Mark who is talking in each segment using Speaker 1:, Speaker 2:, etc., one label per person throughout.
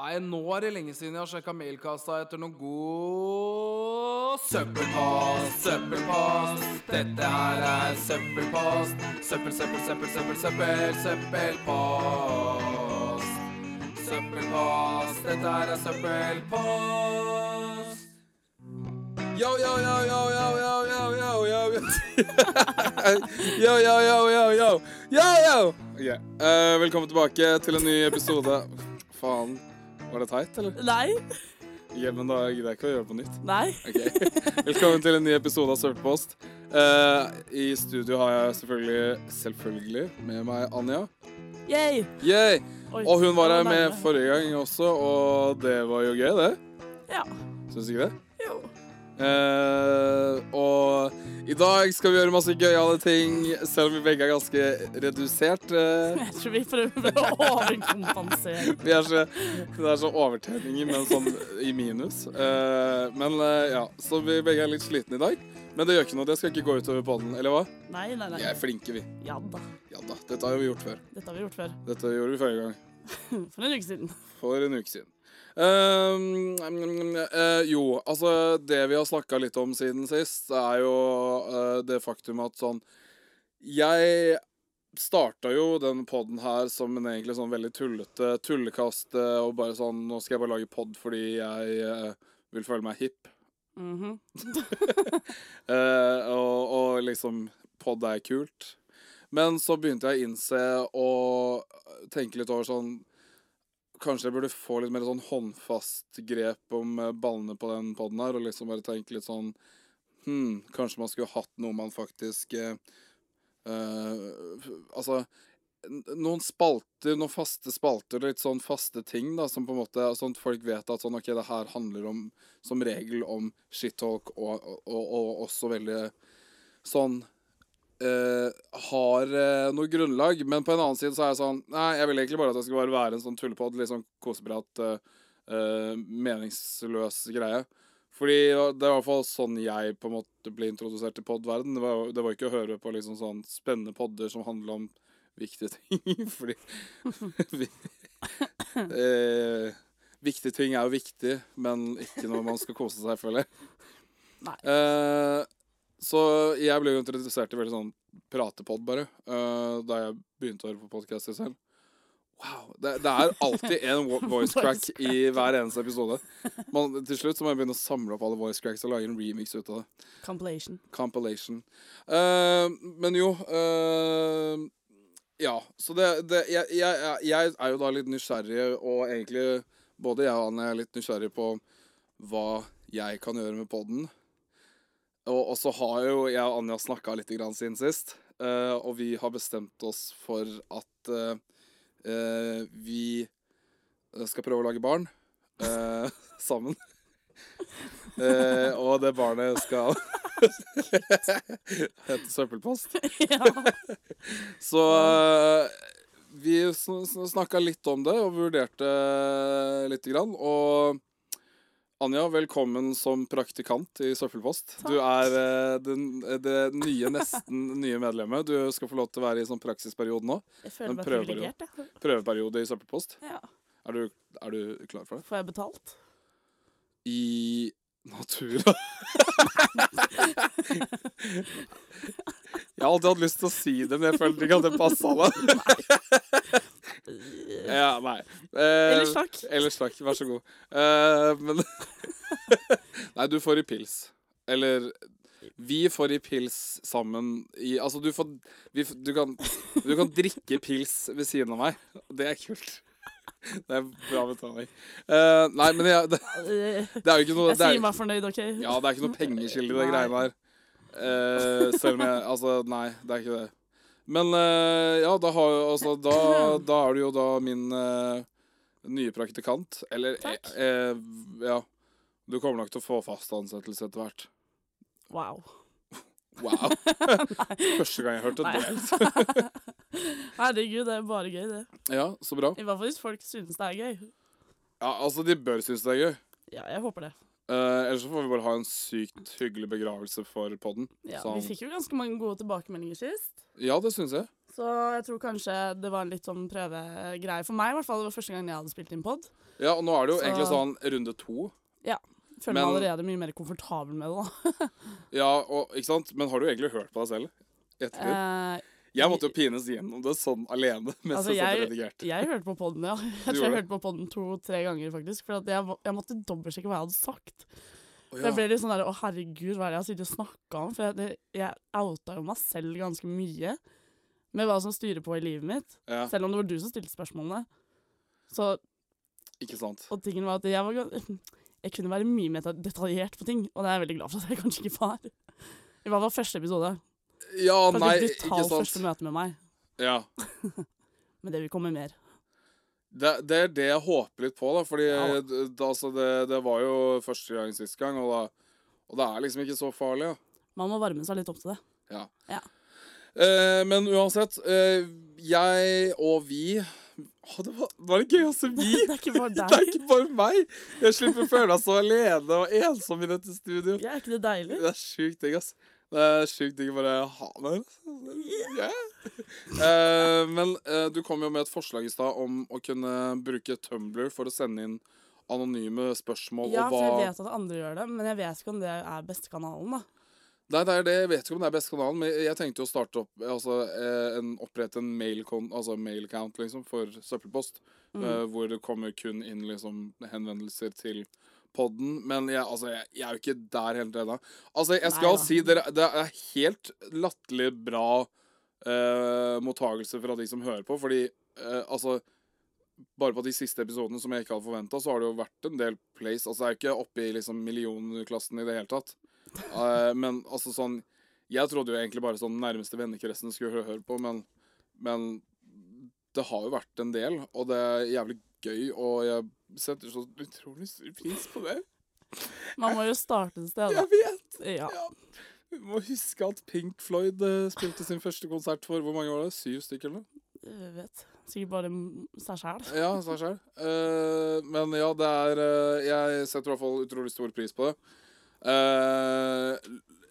Speaker 1: Nei, nå er det lenge siden jeg har sjekka mailkassa etter noen god søppelpost. Søppelpost. Dette her er søppelpost. Søppel, søppel, søppel, søppel, søppel, søppelpost. Søppelpost. Dette her er søppelpost. Yo, yo, yo, yo, yo, yo, yo, yo, yo, yo. Yo, yo, yo, yo, yo. Yo, yo. Ok, eh, velkommen tilbake til en ny episode. Faen. Var det teit, eller?
Speaker 2: Nei.
Speaker 1: Ja, men da gidder jeg ikke å gjøre det på nytt.
Speaker 2: Nei.
Speaker 1: Ok. Velkommen til en ny episode av Søppelpost. Eh, I studio har jeg selvfølgelig, selvfølgelig med meg Anja.
Speaker 2: Yay.
Speaker 1: Yay!
Speaker 2: Oi.
Speaker 1: Og hun var her
Speaker 2: Å,
Speaker 1: med
Speaker 2: nærmere.
Speaker 1: forrige gang også, og det var jo gøy, det.
Speaker 2: Ja.
Speaker 1: Syns du ikke det?
Speaker 2: Jo.
Speaker 1: Eh, og i dag skal vi gjøre masse gøyale ting, selv om vi begge er ganske redusert. eh.
Speaker 2: Jeg tror vi prøver å overkompensere.
Speaker 1: Vi er så, det er så overtenninger, men sånn i minus. Eh, men eh, ja, så vi begge er litt slitne i dag. Men det gjør ikke noe, det skal ikke gå utover podden, eller hva?
Speaker 2: Nei, nei, nei.
Speaker 1: Vi er flinke, vi.
Speaker 2: Ja da.
Speaker 1: Ja da, dette har jo vi gjort før.
Speaker 2: Dette har vi gjort før.
Speaker 1: Dette gjorde vi forrige gang.
Speaker 2: For en uke siden.
Speaker 1: For en uke siden. Ehm, mm, eh, jo, altså det vi har snakka litt om siden sist, er jo eh, det faktum at sånn Jeg starta jo den poden her som en egentlig sånn veldig tullete tullekast eh, og bare sånn Nå skal jeg bare lage pod fordi jeg eh, vil føle meg hipp.
Speaker 2: Mhm.
Speaker 1: Eh, og, og liksom Pod er kult. Men så begynte jeg å innse og tenke litt over sånn Kanskje jeg burde få litt mer sånn håndfast grep om eh, ballene på den poden her, og liksom bare tenke litt sånn Hm, kanskje man skulle hatt noe man faktisk eh, eh, f- Altså n- noen spalter, noen faste spalter, litt sånn faste ting, da, som på en måte Sånn at folk vet at sånn OK, det her handler om som regel om shittalk og, og, og også veldig sånn eh, Har eh, noe grunnlag. Men på en annen side så er jeg sånn Nei, jeg vil egentlig bare at det skal bare være en sånn tullepod, litt sånn koseprat, eh, eh, meningsløs greie. Fordi det var det var i hvert fall sånn jeg på en måte ble introdusert til podverden. Det var, det var ikke å høre på liksom sånn spennende podder som handler om viktige ting, fordi vi, eh, Viktige ting er jo viktig, men ikke når man skal kose seg, føler jeg.
Speaker 2: Nei.
Speaker 1: Eh, så jeg ble jo introdusert til veldig sånn pratepod, bare, eh, da jeg begynte å høre på podkaster selv. Wow. Det, det er alltid en wo- voice crack i hver eneste episode. Man, til slutt så må jeg begynne å samle opp alle voice cracks og lage en remix ut av det.
Speaker 2: Compilation.
Speaker 1: Compilation. Eh, men jo eh, Ja, så det, det jeg, jeg, jeg- jeg er jo da litt nysgjerrig, og egentlig både jeg og Anne er litt nysgjerrig på hva jeg kan gjøre med podden. Og, og så har jo jeg og Anja snakka litt grann siden sist, eh, og vi har bestemt oss for at eh, eh, vi skal prøve å lage barn eh, sammen. Eh, og det barnet skal hete søppelpost.
Speaker 2: ja.
Speaker 1: Så eh, vi sn- sn- snakka litt om det og vurderte lite grann. Og Anja, velkommen som praktikant i Søppelpost. Du er eh, den, det nye, nesten nye medlemmet. Du skal få lov til å være i sånn praksisperiode nå.
Speaker 2: Jeg føler
Speaker 1: Men
Speaker 2: meg
Speaker 1: prøver jo.
Speaker 2: privilegert, jeg.
Speaker 1: Prøveperiode i Søppelpost.
Speaker 2: Ja.
Speaker 1: Er du, er du klar for det?
Speaker 2: Får jeg betalt?
Speaker 1: I natura. Jeg har alltid hatt lyst til å si det, men jeg følte ikke at det passa meg. Ja, nei. Eh,
Speaker 2: Ellers takk.
Speaker 1: Ellers takk, vær så god. Eh, men Nei, du får i pils. Eller vi får i pils sammen i Altså, du får vi, f- du, kan, du kan drikke pils ved siden av meg. Det er kult. Det er bra betaling. Eh, nei, men jeg, det,
Speaker 2: Eh,
Speaker 1: det er jo ikke noe
Speaker 2: Jeg
Speaker 1: det er,
Speaker 2: sier meg fornøyd, OK?
Speaker 1: ja, det er ikke noe pengeskille i de
Speaker 2: Nei.
Speaker 1: greiene der. Eh, selv om jeg Altså, nei, det er ikke det. Men eh, ja, da, har, altså, da, da er du jo da min eh, nye praktikant. Eller eh,
Speaker 2: Takk.
Speaker 1: eh, Ja. Du kommer nok til å få fast ansettelse etter hvert.
Speaker 2: Wow.
Speaker 1: Wow. Første gang jeg hørte
Speaker 2: Nei.
Speaker 1: det.
Speaker 2: Herregud, det er bare gøy, det.
Speaker 1: Ja, så bra.
Speaker 2: I hvert fall hvis folk synes det er gøy.
Speaker 1: Ja, altså, de bør synes det er gøy.
Speaker 2: Ja, jeg håper det.
Speaker 1: Eh, ellers så får vi bare ha en sykt hyggelig begravelse for podden.
Speaker 2: Ja,
Speaker 1: Sånn.
Speaker 2: Vi fikk jo ganske mange gode tilbakemeldinger sist.
Speaker 1: Ja, det syns jeg.
Speaker 2: Så Så jeg tror kanskje det var en litt sånn prøvegreie for meg, i hvert fall. Det var første gangen jeg hadde spilt inn pod.
Speaker 1: Ja, og nå er det jo
Speaker 2: Så-
Speaker 1: egentlig sånn runde to.
Speaker 2: Føler
Speaker 1: Men-
Speaker 2: meg allerede mye mer komfortabel med det, da.
Speaker 1: Ja, og, ikke sant? Men har du egentlig hørt på deg selv? i Ettertid?
Speaker 2: Eh,
Speaker 1: jeg måtte jo pines gjennom det sånn alene. Mens
Speaker 2: Altså,
Speaker 1: jeg satt og
Speaker 2: jeg-
Speaker 1: redigerte.
Speaker 2: jeg hørte på poden, ja. Jeg tror jeg
Speaker 1: gjorde det?
Speaker 2: hørte på poden to-tre ganger, faktisk. For at jeg, må- jeg måtte dobbeltsjekke hva jeg hadde
Speaker 1: Å,
Speaker 2: sagt. For
Speaker 1: ja.
Speaker 2: Jeg ble litt sånn der Å, herregud, hva er det jeg har sittet og snakka om? For jeg, det, jeg outa jo meg selv ganske mye med hva som styrer på i livet mitt.
Speaker 1: Ja,
Speaker 2: Selv om det var du som stilte spørsmålene. Så,
Speaker 1: ikke sant.
Speaker 2: og tingen var at jeg var gan- Jeg kunne være mye mer detaljert på ting, og det er jeg veldig glad for at jeg kanskje ikke var. I hvert fall første episode.
Speaker 1: Ja,
Speaker 2: Kanskje
Speaker 1: nei, ikke
Speaker 2: brutalt første
Speaker 1: sant.
Speaker 2: møte med meg.
Speaker 1: Ja.
Speaker 2: Men det vil komme mer.
Speaker 1: Det, det er det jeg håper litt på, da. Fordi
Speaker 2: Ja.
Speaker 1: d- da, altså, det, det var jo første gang sist gang, og, da, og det er liksom ikke så farlig. Ja.
Speaker 2: Man må varme seg litt opp til det.
Speaker 1: Eh, men uansett, eh, jeg og vi Å, det, var, det var litt gøy å se vi.
Speaker 2: Det er ikke bare
Speaker 1: Det er
Speaker 2: deg.
Speaker 1: ikke bare meg! Jeg slipper å føle meg så alene og ensom i dette studio.
Speaker 2: Ja, er ikke det deilig?
Speaker 1: Det er sjukt digg, ass. Det er sjukt digg å bare ha meg yeah. Eh, Men eh, du kom jo med et forslag i stad om å kunne bruke Tumblr for å sende inn anonyme spørsmål.
Speaker 2: Ja,
Speaker 1: og
Speaker 2: for jeg
Speaker 1: hva...
Speaker 2: vet at andre gjør det, men jeg vet ikke om det er beste kanalen, da.
Speaker 1: Nei, det er det. Jeg vet ikke om det er beste kanalen, men jeg tenkte jo å starte opp altså, eh, en, opprette en mail-count altså mail count, liksom, for søppelpost.
Speaker 2: Mm.
Speaker 1: eh, hvor det kommer kun inn liksom, henvendelser til podden. Men jeg, altså, jeg, jeg er jo ikke der helt ennå. Altså, jeg skal
Speaker 2: Neida.
Speaker 1: si dere, det er helt latterlig bra eh, mottagelse fra de som hører på, fordi eh, altså bare på de siste episodene som jeg ikke hadde forventa, så har det jo vært en del plays. Altså, jeg er ikke oppe i liksom millionklassen i det hele tatt. Eh, men altså sånn Jeg trodde jo egentlig bare sånn nærmeste vennekretsen skulle hø- høre på, men, men det har jo vært en del, og det er jævlig gøy, og jeg setter så utrolig stor pris på det.
Speaker 2: Man må jo starte et sted, da.
Speaker 1: Jeg vet!
Speaker 2: Ja.
Speaker 1: Vi må huske at Pink Floyd eh, spilte sin første konsert for hvor mange var det? Syv stykker? eller noe?
Speaker 2: Jeg vet. Sikkert bare m- seg sjæl.
Speaker 1: Ja, seg sjøl. Eh, men ja, det er eh, Jeg setter i hvert fall utrolig stor pris på det. Eh,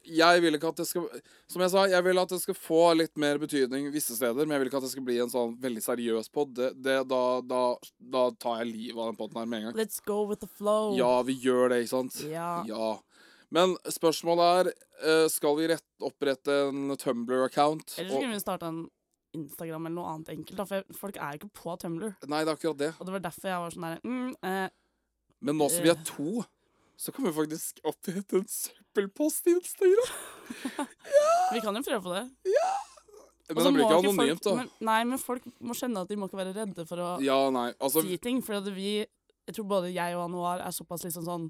Speaker 1: jeg vil ikke at det skal Som jeg sa, jeg vil at det skal få litt mer betydning visse steder, men jeg vil ikke at det skal bli en sånn veldig seriøs pod. Det, det, da, da, da tar jeg livet av den poden her med en gang.
Speaker 2: Let's go with the flow.
Speaker 1: Ja, vi gjør det, ikke sant?
Speaker 2: Ja.
Speaker 1: Ja. Men spørsmålet er eh, Skal vi rett, opprette en Tumblr-account?
Speaker 2: Eller så kunne vi starta en Instagram eller noe annet enkelt, da, for folk er jo ikke på Tumblr.
Speaker 1: Nei, det er akkurat det.
Speaker 2: Og det var derfor jeg var sånn der mm, eh,
Speaker 1: Men nå som vi er to, så kan vi faktisk opprette en søppelpost i Instagram.
Speaker 2: Vi kan jo prøve på det.
Speaker 1: Men det
Speaker 2: Og så
Speaker 1: blir
Speaker 2: må
Speaker 1: ikke
Speaker 2: ikke folk-
Speaker 1: anonymt, da.
Speaker 2: Men, nei, men folk må skjønne at de må ikke være redde for å
Speaker 1: Ja, nei. Altså,
Speaker 2: si ting. For at vi, jeg tror både jeg og Anuar er såpass liksom sånn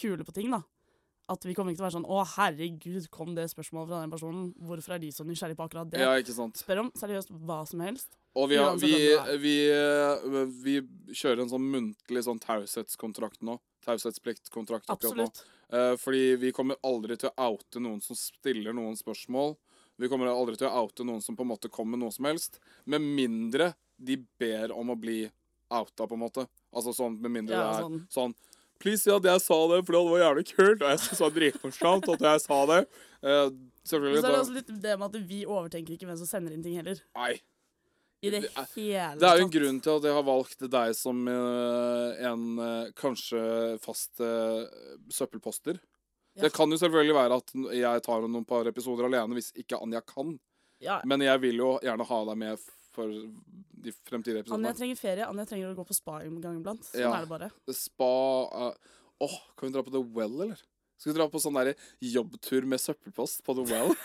Speaker 2: kule på ting, da. At vi kommer ikke til å være sånn 'Å, herregud, kom det spørsmålet fra den personen?' 'Hvorfor er de så nysgjerrige på akkurat det?'
Speaker 1: ja, ikke sant.
Speaker 2: Spør om seriøst hva som helst.
Speaker 1: Og vi, har,
Speaker 2: Uansett
Speaker 1: vi,
Speaker 2: hvem det
Speaker 1: vi, eh, vi kjører en sånn muntlig sånn taushetskontrakt nå. Taushetspliktkontrakt. akkurat nå.
Speaker 2: Absolutt.
Speaker 1: Eh, fordi vi kommer aldri til å oute noen som stiller noen spørsmål. Vi kommer aldri til å oute noen som på en måte kommer med noe som helst. Med mindre de ber om å bli outa, på en måte. Altså sånn, med mindre
Speaker 2: Ja,
Speaker 1: det er sånn.
Speaker 2: sånn.
Speaker 1: Please, si at jeg sa det, for det var jævlig kult, og jeg syntes det var dritmorsomt at jeg sa det. Eh,
Speaker 2: Men
Speaker 1: selvfølgelig.
Speaker 2: så er det
Speaker 1: Da,
Speaker 2: også litt det med at vi overtenker ikke hvem som sender inn ting heller.
Speaker 1: nei.
Speaker 2: I det
Speaker 1: Det er-
Speaker 2: hele
Speaker 1: Det er jo en
Speaker 2: tatt.
Speaker 1: grunn til at jeg har valgt deg som eh, en eh, kanskje fast eh, søppelposter.
Speaker 2: Ja.
Speaker 1: Det kan jo selvfølgelig være at n- jeg tar noen par episoder alene hvis ikke Anja kan.
Speaker 2: Ja.
Speaker 1: Men jeg vil jo gjerne ha deg med for de fremtidige
Speaker 2: Anja
Speaker 1: episodene.
Speaker 2: trenger ferie. Anja trenger å gå på spa en gang iblant. Sånn
Speaker 1: Ja.
Speaker 2: er det bare.
Speaker 1: Spa eh, Åh, kan vi dra på The Well, eller? Skal vi dra på sånn der jobbtur med søppelpost på The Well?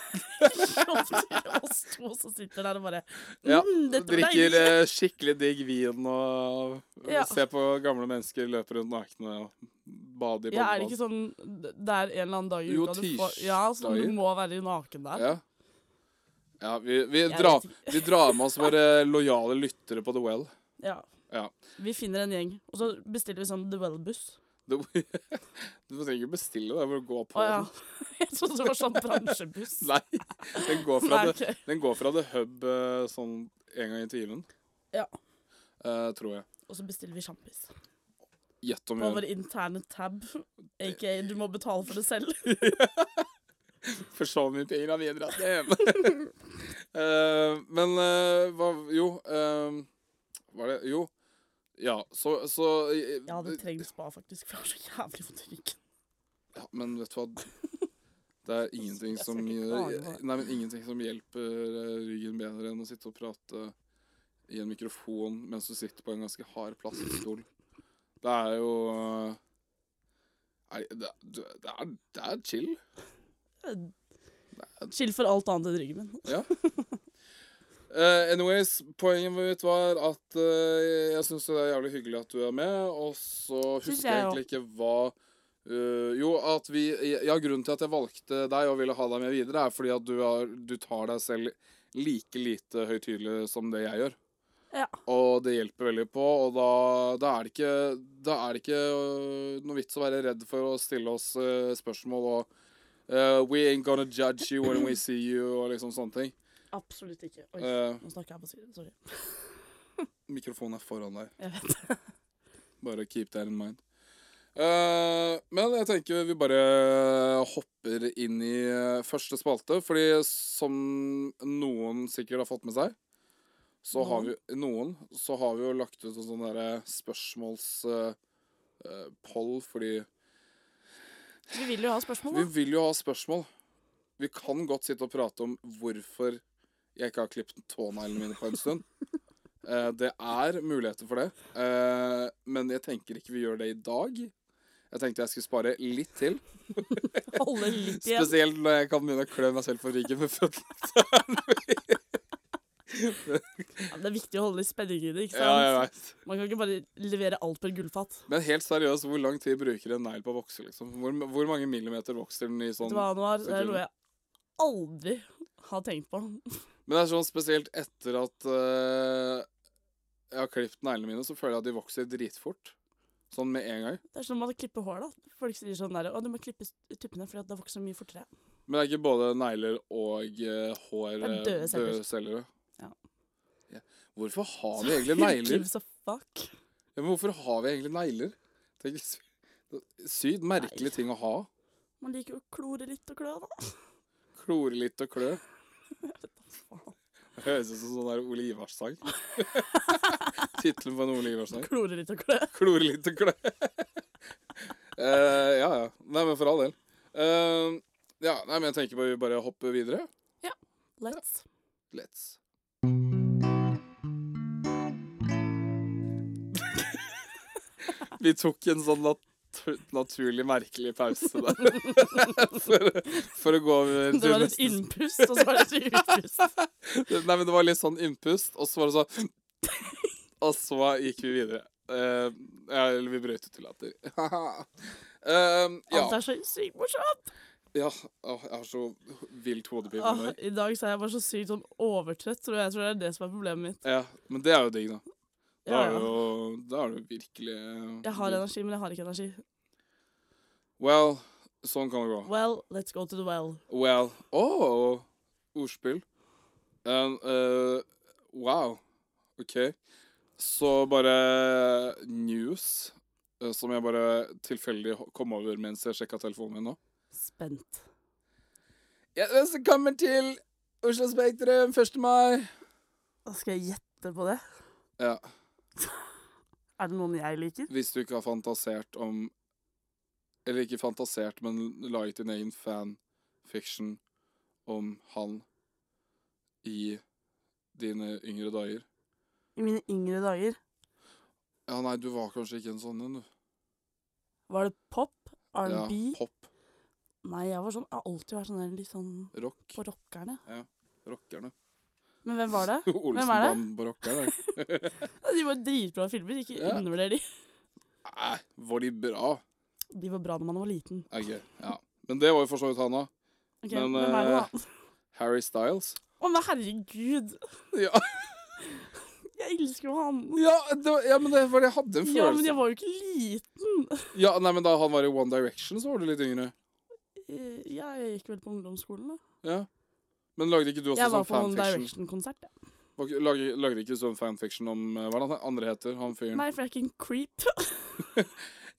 Speaker 2: Oss to som sitter der og bare
Speaker 1: Ja,
Speaker 2: mm, dette var
Speaker 1: Drikker
Speaker 2: deilig.
Speaker 1: eh, skikkelig digg vin og
Speaker 2: Ja.
Speaker 1: ser på gamle mennesker løpe rundt nakne og bade i
Speaker 2: Ja, er det
Speaker 1: badebad.
Speaker 2: ikke sånn Det er en eller annen dag i
Speaker 1: Jo,
Speaker 2: uka du får Ja, så du
Speaker 1: tirsdager.
Speaker 2: må være naken der.
Speaker 1: Ja. Ja, vi, vi,
Speaker 2: Jeg
Speaker 1: drar,
Speaker 2: vet
Speaker 1: vi drar med oss våre lojale lyttere på The Well.
Speaker 2: Ja.
Speaker 1: Ja.
Speaker 2: Vi finner en gjeng, og så bestiller vi sånn Duell-buss.
Speaker 1: The Du trenger ikke bestille, det er bare å gå på
Speaker 2: Å ja. Jeg trodde det var sånn bransjebuss.
Speaker 1: den. Nei, den går fra,
Speaker 2: Nei,
Speaker 1: the,
Speaker 2: ok.
Speaker 1: den går fra The Hub eh, sånn en gang i timen.
Speaker 2: Ja.
Speaker 1: Eh, tror jeg.
Speaker 2: Og så bestiller vi sjampis.
Speaker 1: Gjett om
Speaker 2: På
Speaker 1: vi
Speaker 2: vår interne tab. Aka du må betale for det selv.
Speaker 1: For så mye penger har vi dratt hjem. Eh, men eh, hva Jo. eh, var det Jo. Ja, så, så eh,
Speaker 2: Jeg hadde trengt spa, faktisk, for jeg har så jævlig vondt i ryggen.
Speaker 1: ja, Men vet du hva? Det er ingenting
Speaker 2: Jeg skal
Speaker 1: som
Speaker 2: ikke klage på
Speaker 1: Nei,
Speaker 2: det.
Speaker 1: men ingenting som hjelper eh, ryggen bedre enn å sitte og prate i en mikrofon mens du sitter på en ganske hard plaststol. Det er jo eh, Nei, det, det, er, det er chill.
Speaker 2: Chill for alt annet enn ryggen min.
Speaker 1: Eh, anyways, poenget mitt var at eh, jeg syns det er jævlig hyggelig at du er med, og så
Speaker 2: Synes
Speaker 1: husker jeg
Speaker 2: jeg
Speaker 1: egentlig ikke hva eh, jo, at vi Ja, grunnen til at jeg valgte deg og ville ha deg med videre, er fordi at du, har, du tar deg selv like lite høytidelig som det jeg gjør.
Speaker 2: Ja.
Speaker 1: Og det hjelper veldig på, og da, da er det ikke, da er det ikke øh, noe vits å være redd for å stille oss øh, spørsmål og øh, We ain't gonna judge you when we see you, og liksom sånne ting.
Speaker 2: Absolutt ikke. Oi,
Speaker 1: Eh,
Speaker 2: nå snakker jeg på siden. Sorry.
Speaker 1: mikrofonen er foran deg.
Speaker 2: Jeg vet det.
Speaker 1: Bare keep that in mind. Eh, men jeg tenker vi bare hopper inn i eh, første spalte, fordi som noen sikkert har fått med seg, så har vi noen, så har vi jo lagt ut en sånn derre spørsmålspoll, fordi
Speaker 2: Vi vil jo ha spørsmål,
Speaker 1: vi
Speaker 2: da.
Speaker 1: vil jo ha spørsmål. Vi kan godt sitte og prate om hvorfor jeg ikke har klippet tåneglene mine på en stund. Eh, Det er muligheter for det, eh, men jeg tenker ikke vi gjør det i dag. Jeg tenkte jeg skulle spare litt til,
Speaker 2: Holde litt igjen.
Speaker 1: spesielt når jeg kan begynne å klø meg selv på ryggen med føttene.
Speaker 2: Ja, men det er viktig å holde litt spenning i det. ikke sant?
Speaker 1: Ja, jeg vet.
Speaker 2: Man kan ikke bare levere alt på et gullfat.
Speaker 1: Men helt seriøst, hvor lang tid bruker en negl på å vokse? liksom? Hvor, hvor mange millimeter vokser den i
Speaker 2: Vet
Speaker 1: sånn
Speaker 2: du hva, Anwar? Det er
Speaker 1: sekunder.
Speaker 2: noe jeg aldri har tenkt på.
Speaker 1: Men det er sånn spesielt etter at eh, jeg har klippet neglene mine, så føler jeg at de vokser dritfort. Sånn med en gang.
Speaker 2: Det er som om man klipper hår, da. Folk sier sånn der Å, du må klippe s- tuppene, for da vokser det mye fortere.
Speaker 1: Men det er ikke både negler og eh, hår
Speaker 2: Det er
Speaker 1: eh,
Speaker 2: døde celler.
Speaker 1: døde celler.
Speaker 2: Ja.
Speaker 1: Ja. Hvorfor har vi egentlig negler?
Speaker 2: Gives a fuck.
Speaker 1: Ja, men hvorfor har vi egentlig negler? Tenk, sy- Syd, merkelig ting å ha.
Speaker 2: Man liker jo å klore litt og klø, da.
Speaker 1: Klore litt og klø.
Speaker 2: Faen.
Speaker 1: Høres ut som sånn der Ole Ivars-sang. Tittelen på en Ole Ivars-sang.
Speaker 2: Klore litt og klø.
Speaker 1: Klore litt og klø. Eh, ja, ja. Nei, men for all del. Eh, ja, nei, men jeg tenker bare vi bare hopper videre.
Speaker 2: Let's.
Speaker 1: Let's. vi tok en sånn nat naturlig merkelig pause der. for, for å gå over
Speaker 2: Det var et
Speaker 1: neste-
Speaker 2: innpust, og så var det et utpust.
Speaker 1: Nei, men det var litt sånn innpust, og så var det sånn Og så gikk vi videre. Eh, ja, eller vi brøt ut til latter. Eh, ja.
Speaker 2: Alt er så sykt morsomt.
Speaker 1: ja. Åh, jeg har så vilt hodepine i
Speaker 2: Åh,
Speaker 1: dag.
Speaker 2: I dag så er jeg bare så sykt sånn overtrøtt, tror jeg. Jeg tror det er det som er problemet mitt.
Speaker 1: Ja, men det er jo digg, da. Da
Speaker 2: Ja,
Speaker 1: er det
Speaker 2: ja.
Speaker 1: jo, da er det jo virkelig eh,
Speaker 2: Jeg har energi, men jeg har ikke energi.
Speaker 1: Well, sånn kan det gå.
Speaker 2: Well, let's go to the well.
Speaker 1: Well Åh, ordspill. Um, eh, wow. OK. Så bare news, eh, som jeg bare tilfeldig ho- kom over mens jeg sjekka telefonen min nå.
Speaker 2: Spent.
Speaker 1: Ja, det som kommer til Oslo Spektrum 1. mai.
Speaker 2: Da skal jeg gjette på det.
Speaker 1: Ja,
Speaker 2: Er det noen jeg liker?
Speaker 1: Hvis du ikke har fantasert om Eller ikke fantasert, men laget din egen fanfiction om han i dine yngre dager.
Speaker 2: I mine yngre dager
Speaker 1: Ja, nei, du var kanskje ikke en sånn en, du.
Speaker 2: var det pop,
Speaker 1: Ja,
Speaker 2: R&B
Speaker 1: pop,
Speaker 2: Nei, jeg var sånn, jeg har alltid vært sånn der, litt sånn
Speaker 1: rock,
Speaker 2: på rockerne.
Speaker 1: rockerne.
Speaker 2: Men hvem var det?
Speaker 1: Olsenbanden på rockerne.
Speaker 2: Ja, De var dritbra filmer, ikke
Speaker 1: Ja.
Speaker 2: undervurder de.
Speaker 1: Nei, var de bra?
Speaker 2: De var bra når man var liten.
Speaker 1: Er gøy, ja. Men det var jo for så vidt han òg.
Speaker 2: Ok,
Speaker 1: Men, eh,
Speaker 2: hvem er det da?
Speaker 1: Harry Styles.
Speaker 2: Å, men herregud!
Speaker 1: Ja,
Speaker 2: Jeg elsker jo han!
Speaker 1: ja, det var, ja men det var det jeg hadde en
Speaker 2: Ja, men
Speaker 1: følelse
Speaker 2: jeg var jo ikke liten!
Speaker 1: Ja, nei, men Da han var i One Direction, så var du litt yngre.
Speaker 2: Eh, Jeg gikk vel på ungdomsskolen, da.
Speaker 1: Ja. Men lagde ikke du også
Speaker 2: Jeg var
Speaker 1: sånn
Speaker 2: på One
Speaker 1: fanfiction?
Speaker 2: Direction-konsert. jeg.
Speaker 1: Var ikke- Lagde, lagde ikke du sånn fanfiction om eh, Hva er det han andre heter? Han fyren?
Speaker 2: Nei, for jeg er ikke en creep.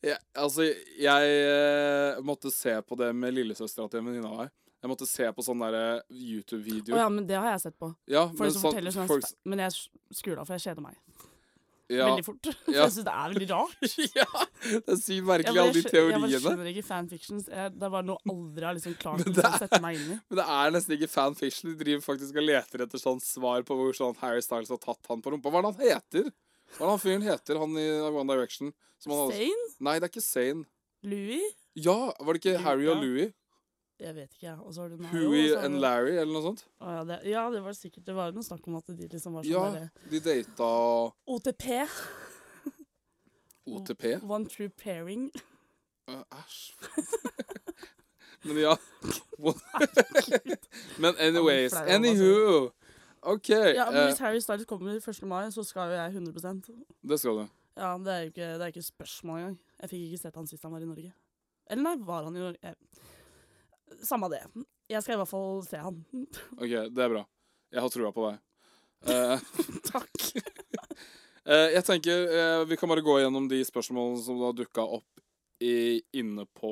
Speaker 1: Ja, altså, jeg eh, måtte se på det med lillesøstera til en venninne av meg. Jeg måtte se på sånne der
Speaker 2: Å
Speaker 1: YouTube-videoer.
Speaker 2: ja, men det har jeg sett på.
Speaker 1: ja,
Speaker 2: Folk som
Speaker 1: sånn-
Speaker 2: forteller sånn
Speaker 1: folk-
Speaker 2: Men jeg skrur av, for jeg kjeder meg
Speaker 1: ja,
Speaker 2: veldig fort. For
Speaker 1: Ja.
Speaker 2: jeg syns det er veldig rart.
Speaker 1: ja, det er sykt
Speaker 2: Jeg,
Speaker 1: merkelig,
Speaker 2: bare
Speaker 1: alle de
Speaker 2: skjø- jeg bare
Speaker 1: teoriene.
Speaker 2: skjønner ikke fanfictions. Jeg, det er bare noe aldri har liksom klart
Speaker 1: Men
Speaker 2: å
Speaker 1: det
Speaker 2: liksom sette meg inn i.
Speaker 1: Men det er nesten ikke fanfiction. De driver faktisk og leter etter sånn svar på hvor sånn Harry Styles har tatt han på rumpa. Hva er det han heter? Hva er det han fyren heter, han i One Direction? Som han hadde?
Speaker 2: Sane?
Speaker 1: Nei, det er ikke Sane.
Speaker 2: Louis?
Speaker 1: Ja, var det ikke Harry og
Speaker 2: Ja.
Speaker 1: Louie?
Speaker 2: Jeg vet ikke, jeg. Og så har du den her,
Speaker 1: Huey
Speaker 2: og så har
Speaker 1: and
Speaker 2: du-
Speaker 1: Larry, eller noe sånt?
Speaker 2: Å ja, det, ja, det var sikkert Det var jo noe snakk om at de liksom var sånn
Speaker 1: Ja.
Speaker 2: derre
Speaker 1: De data
Speaker 2: OTP. Mm.
Speaker 1: OTP.
Speaker 2: One true pairing.
Speaker 1: Øh, Æsj. Men ja. Men anyways.
Speaker 2: flau, altså.
Speaker 1: Anywho. OK.
Speaker 2: Ja, men
Speaker 1: eh,
Speaker 2: Hvis Harry Styles kommer 1. mai, så skal jo jeg 100
Speaker 1: det skal du.
Speaker 2: Ja, Det er jo ikke, det er ikke spørsmål engang. Jeg fikk ikke sett han sist han var i Norge. Eller nei, var han i Norge? Jeg... Samme det. Jeg skal i hvert fall se han.
Speaker 1: OK, det er bra. Jeg har trua på deg. Eh,
Speaker 2: Takk.
Speaker 1: Eh, jeg tenker eh, Vi kan bare gå gjennom de spørsmålene som da dukka opp i, inne på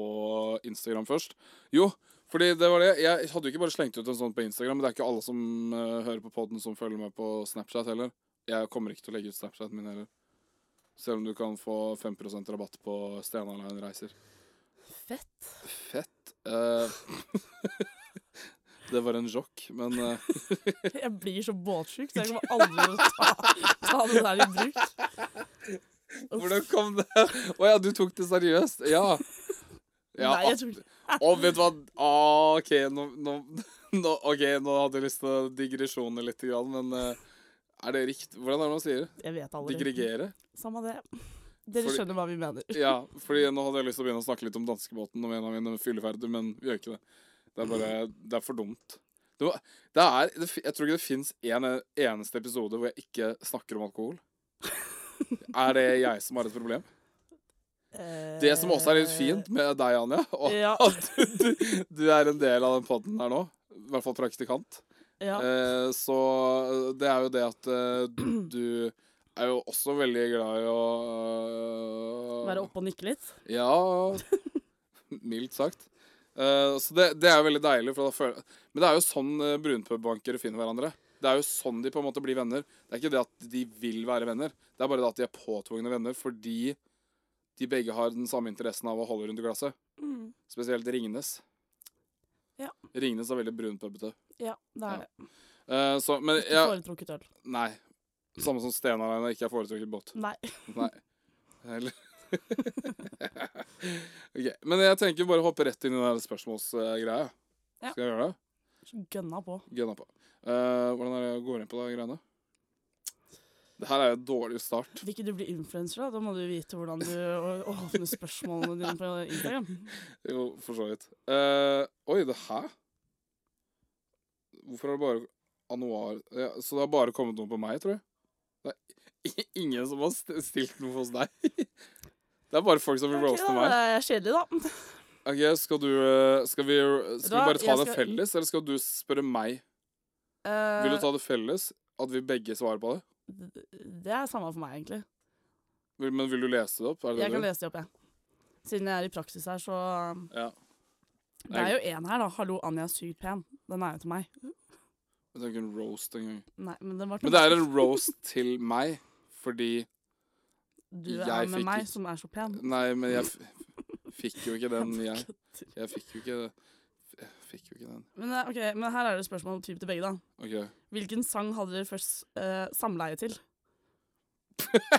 Speaker 1: Instagram først. Jo, fordi det var det. Jeg hadde jo ikke bare slengt ut en sånn på Instagram, men det er ikke alle som eh, hører på poden som følger med på Snapchat heller. Jeg kommer ikke til å legge ut Snapchaten min heller. Selv om du kan få 5 rabatt på Stena Line-reiser.
Speaker 2: Fett.
Speaker 1: Fett. Eh, det var en sjokk, men eh,
Speaker 2: Jeg blir så båtsjuk, så jeg kommer aldri til å ta, ta det der i bruk. Uff.
Speaker 1: Hvordan kom det Å ja, du tok det seriøst? Ja. ja
Speaker 2: Nei, jeg
Speaker 1: at-
Speaker 2: tror ikke
Speaker 1: Å, vet du hva ah, OK, nå, nå, nå, ok, nå hadde jeg lyst til å digresjone litt, grann, men eh, er det riktig Hvordan er det man sier det?
Speaker 2: Jeg vet aldri.
Speaker 1: Digregere?
Speaker 2: Samme det. Dere
Speaker 1: Fordi-
Speaker 2: skjønner hva vi mener.
Speaker 1: Ja, fordi nå hadde jeg lyst til å begynne å snakke litt om danskebåten om en av mine fylleferder, men vi gjør ikke det. Det er bare Det er for dumt. Det, var, det er det, fi- Jeg tror ikke det fins en eneste episode hvor jeg ikke snakker om alkohol. Er det jeg som har et problem? Det som også er litt fint med deg, Anja, og
Speaker 2: Eh, Ja.
Speaker 1: at du, du er en del av den podden her nå, i hvert fall praktikant,
Speaker 2: Ja.
Speaker 1: eh, så eh, det er jo det at eh, du- du er jo også veldig glad i å eh,
Speaker 2: Være oppe og nikke litt.
Speaker 1: Ja, mildt sagt. Eh, så det, det er jo veldig deilig, for da føler Men det er jo sånn eh, brunpubbankere finner hverandre. Det er jo sånn de på en måte blir venner. Det er ikke det at de vil være venner, det er bare det at de er påtvungne venner fordi de begge har den samme interessen av å holde rundt i glasset.
Speaker 2: Mm.
Speaker 1: Spesielt Ringnes.
Speaker 2: Ja.
Speaker 1: Ringnes er veldig brunpubete.
Speaker 2: Ja, det
Speaker 1: Ja.
Speaker 2: er det.
Speaker 1: Eh, så, men
Speaker 2: Ikke
Speaker 1: ja,
Speaker 2: foretrukket øl.
Speaker 1: Nei. Samme som Stenar Einar ikke er foretrukket båt.
Speaker 2: Nei.
Speaker 1: Nei. Eller Ok, Men jeg tenker bare å hoppe rett inn i den her spørsmålsgreia.
Speaker 2: Ja.
Speaker 1: Skal jeg gjøre det?
Speaker 2: Gønna på.
Speaker 1: Gønna på. Eh, hvordan er det jeg går inn på de greiene? Det her er jo en dårlig start.
Speaker 2: Vil ikke du bli influenser, da? Da må du vite hvordan du å- åpner spørsmålene dine på Instagram.
Speaker 1: Jo, for så vidt. Eh, oi, det her Hvorfor er det bare anuar ja, Så det har bare kommet noe på meg, tror jeg? Det er i- ingen som har st- stilt noe hos deg? Det er bare folk som vil
Speaker 2: Ok,
Speaker 1: roaste
Speaker 2: da,
Speaker 1: meg.
Speaker 2: det er kjedelig, da.
Speaker 1: Ok, skal du eh, Skal vi, skal vi
Speaker 2: Da,
Speaker 1: bare ta
Speaker 2: jeg
Speaker 1: det
Speaker 2: skal-
Speaker 1: felles, eller skal du spørre meg?
Speaker 2: Eh,
Speaker 1: Vil du ta det felles? At vi begge svarer på det?
Speaker 2: det er samme for meg, egentlig.
Speaker 1: Vil, men vil du lese det opp? Er det
Speaker 2: Jeg
Speaker 1: det
Speaker 2: kan
Speaker 1: du?
Speaker 2: lese de opp, jeg. Siden jeg er i praksis her, så um,
Speaker 1: Ja.
Speaker 2: Det er jo en her, da. 'Hallo, Anja er sykt pen'. Den er jo til meg.
Speaker 1: Jeg tenker en roast en gang.
Speaker 2: Nei, men den var til
Speaker 1: Men det er en roast til meg, fordi
Speaker 2: Du
Speaker 1: jeg
Speaker 2: er
Speaker 1: fikk
Speaker 2: med meg,
Speaker 1: ikke-
Speaker 2: som er så pen.
Speaker 1: Nei, men jeg f fikk jo ikke den, jeg.
Speaker 2: Kødder.
Speaker 1: Jeg fikk jo ikke Jeg fikk jo ikke den.
Speaker 2: Men, eh, ok, men her er det spørsmål typ til begge, da.
Speaker 1: OK.
Speaker 2: Hvilken sang hadde dere først eh, samleie til?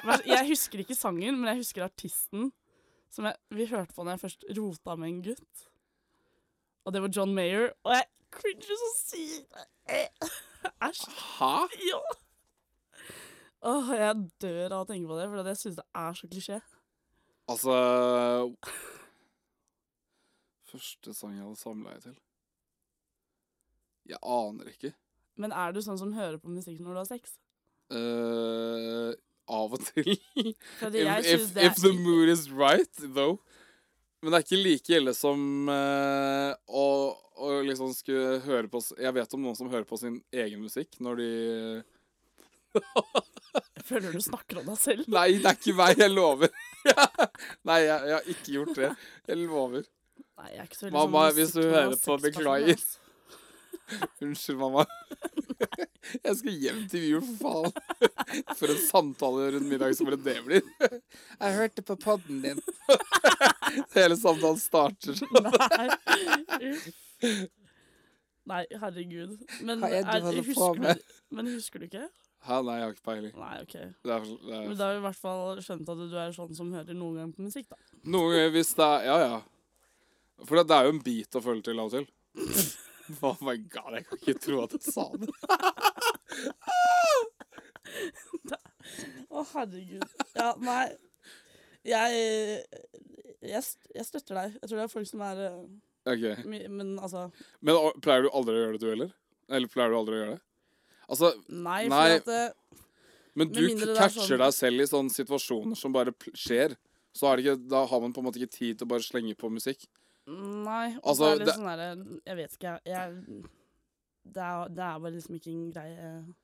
Speaker 2: Vær- Jeg husker ikke sangen, men jeg husker artisten som jeg, vi hørte på når jeg først rota med en gutt. Og det var John Mayer. Og jeg cringer så sykt. Eh, Æsj.
Speaker 1: Hæ?
Speaker 2: Ja. Åh, jeg dør av å tenke på det, for jeg syns det er så klisjé.
Speaker 1: Altså Første sang jeg hadde samleie til Jeg aner ikke.
Speaker 2: Men er du sånn som hører på musikk når du har sex?
Speaker 1: Eh, av og til.
Speaker 2: Fordi
Speaker 1: if,
Speaker 2: jeg
Speaker 1: if,
Speaker 2: synes det
Speaker 1: if the mood is right, though. Men det er ikke like ille som eh, å, å liksom skulle høre på s- Jeg vet om noen som hører på sin egen musikk når de
Speaker 2: Føler du snakker om deg selv?
Speaker 1: Nei, det er ikke meg, jeg lover. Nei, jeg, jeg har ikke gjort det. Jeg lover.
Speaker 2: Nei, jeg er ikke så veldig
Speaker 1: Mamma,
Speaker 2: sånn
Speaker 1: hvis du
Speaker 2: musikk- og
Speaker 1: hører på,
Speaker 2: sexperson,
Speaker 1: beklager.
Speaker 2: altså.
Speaker 1: Unnskyld, mamma. Jeg skal hjem til jul, for faen. For en samtale rundt middagsbordet det blir. Jeg hørte på podden din. Hele samtalen starter sånn.
Speaker 2: Nei, uff. Nei, herregud. Men,
Speaker 1: Hva er det du
Speaker 2: er,
Speaker 1: holder på
Speaker 2: husker
Speaker 1: med?
Speaker 2: du, men husker du ikke?
Speaker 1: Hæ, nei, jeg har ikke peiling.
Speaker 2: Nei, OK.
Speaker 1: Det er, for- det
Speaker 2: Men
Speaker 1: er.
Speaker 2: da har vi i hvert fall skjønt at du er sånn som hører noen gang på musikk, da.
Speaker 1: Noen ganger hvis det er Ja, ja. For det, det er jo en bit å følge til av og til. Oh my god, jeg kan ikke tro at jeg sa det.
Speaker 2: Å, herregud. Ja, nei. Jeg, jeg, st- jeg støtter deg. Jeg tror det er folk som er eh,
Speaker 1: Ok.
Speaker 2: my- Men altså
Speaker 1: Men å, pleier du aldri å gjøre det, du heller? Eller pleier du aldri å gjøre det? Altså,
Speaker 2: Nei, for
Speaker 1: Nei.
Speaker 2: at eh,
Speaker 1: Men
Speaker 2: Med
Speaker 1: du
Speaker 2: mindre det er
Speaker 1: catcher
Speaker 2: sånn-
Speaker 1: deg selv i sånne situasjoner som bare pl- skjer. Så er det ikke, da har man på en måte ikke tid til å bare slenge på musikk.
Speaker 2: Nei. og
Speaker 1: Altså,
Speaker 2: så er det,
Speaker 1: det-
Speaker 2: litt sånn der, jeg vet ikke, jeg, jeg det, er, det er bare liksom ikke en greie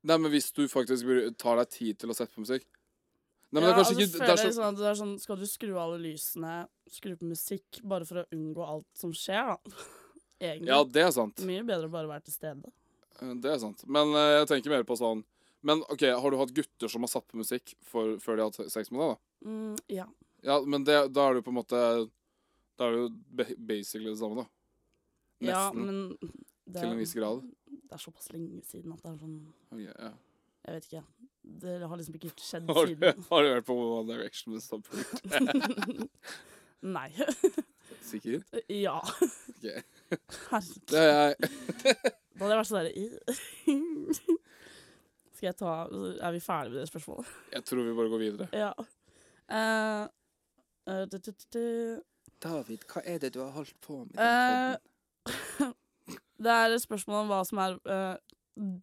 Speaker 1: Nei, men hvis du faktisk bru- tar deg tid til å sette på musikk Nei, men det
Speaker 2: Ja,
Speaker 1: er kanskje
Speaker 2: altså,
Speaker 1: ikke
Speaker 2: føler
Speaker 1: det er
Speaker 2: jeg
Speaker 1: så,
Speaker 2: sånn at det er sånn, Skal du skru av alle lysene, skru på musikk, bare for å unngå alt som skjer, da? Egentlig.
Speaker 1: Ja, det er sant.
Speaker 2: Mye bedre å bare være til stede.
Speaker 1: Eh, Det er sant. Men eh, jeg tenker mer på sånn Men OK, har du hatt gutter som har satt på musikk for, før de har hatt sex med deg, da?
Speaker 2: Mm, ja.
Speaker 1: Ja, men det, da er du på en måte Da er det jo ba- basically det samme, da. Nesten.
Speaker 2: ja, men det,
Speaker 1: til en viss grad.
Speaker 2: det er såpass lenge siden at det er sånn
Speaker 1: Ok, ja.
Speaker 2: Jeg vet ikke. Det har liksom ikke skjedd
Speaker 1: har, du,
Speaker 2: siden.
Speaker 1: har du hørt på One Direction med Stopper?
Speaker 2: Nei.
Speaker 1: Sikker?
Speaker 2: ja.
Speaker 1: Ok.
Speaker 2: Herregud.
Speaker 1: Det er jeg.
Speaker 2: Da hadde jeg vært sånn derre Skal jeg ta Er vi ferdige med det spørsmålet?
Speaker 1: Jeg tror vi bare går videre.
Speaker 2: Ja. Eh, eh, du, du, du, du.
Speaker 1: David, hva er det du har holdt på med?
Speaker 2: Eh, Det er et spørsmål om hva som er eh,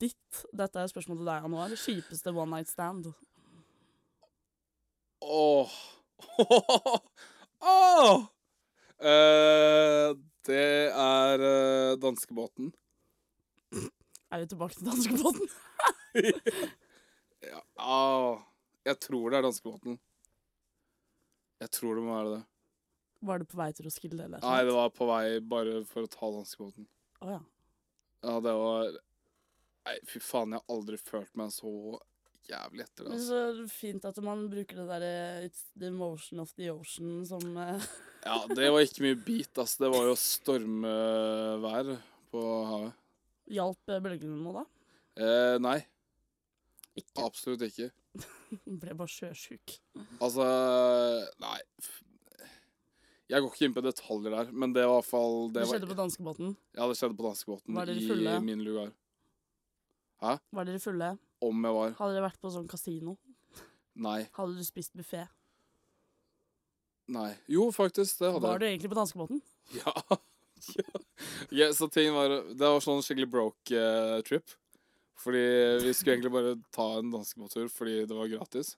Speaker 2: ditt Dette er et spørsmål til deg, Anwar. Kjipeste one night stand.
Speaker 1: Åh. Åh. Eh, det er eh, danskebåten.
Speaker 2: Er vi tilbake til danskebåten?
Speaker 1: Ja, ah, jeg tror det er danskebåten. Jeg tror det må være det.
Speaker 2: Var du på vei til Roskilde, eller?
Speaker 1: Nei, det var på vei bare for å ta danskebåten.
Speaker 2: Å ja.
Speaker 1: Ja, det var Nei, fy faen, jeg har aldri følt meg så jævlig etter det.
Speaker 2: Men
Speaker 1: Altså.
Speaker 2: så fint at man bruker det derre It's the motion of the ocean som eh,
Speaker 1: Ja, det var ikke mye bit, ass. Det var jo stormvær på havet.
Speaker 2: hjalp eh, bølgene nå, da.
Speaker 1: Eh, nei,
Speaker 2: Ikke.
Speaker 1: absolutt ikke.
Speaker 2: Ble bare sjøsjuk.
Speaker 1: Altså Nei. f- Jeg går ikke inn på detaljer der, men det var i hvert fall
Speaker 2: Det,
Speaker 1: det var,
Speaker 2: skjedde på danskebåten.
Speaker 1: Ja, det skjedde på danskebåten
Speaker 2: Var dere
Speaker 1: i
Speaker 2: fulle?
Speaker 1: min lugar.
Speaker 2: Var dere fulle?
Speaker 1: Om jeg var.
Speaker 2: Hadde dere vært på sånn kasino?
Speaker 1: Nei.
Speaker 2: Hadde du spist buffé?
Speaker 1: Nei. Jo, faktisk, det hadde
Speaker 2: Var du egentlig på danskebåten?
Speaker 1: jeg. Ja. ja. Ja, så ting var Det var sånn skikkelig broke eh, trip. Fordi vi skulle egentlig bare ta en danskebåttur fordi det var gratis.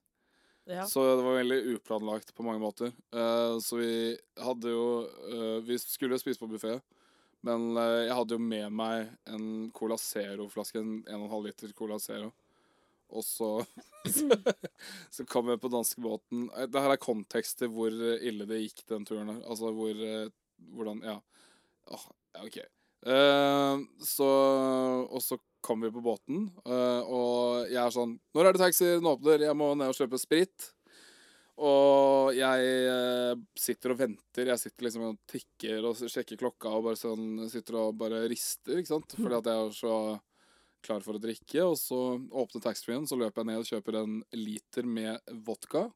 Speaker 2: Ja.
Speaker 1: Så det var veldig uplanlagt på mange måter. Eh, så vi hadde jo eh, Vi skulle spise på buffé, men eh, jeg hadde jo med meg en Cola Zero-flaske, en 1,5 liter Cola Zero. Og så Så kom jeg på danskebåten Eh, Det her er kontekst til hvor eh, ille det gikk den turen her. Altså hvor eh, Hvordan Ja. Åh, ja, OK. Eh, så Og så kom vi på båten, eh, og jeg er sånn Når er det taxier? Nå åpner. Jeg må ned og kjøpe sprit. Og jeg eh, sitter og venter. Jeg sitter liksom og tikker og sjekker klokka og bare sånn Sitter og bare rister, ikke sant? Fordi at jeg er så klar for å drikke. Og så åpner taxfree-en, så løper jeg ned og kjøper en liter med vodka.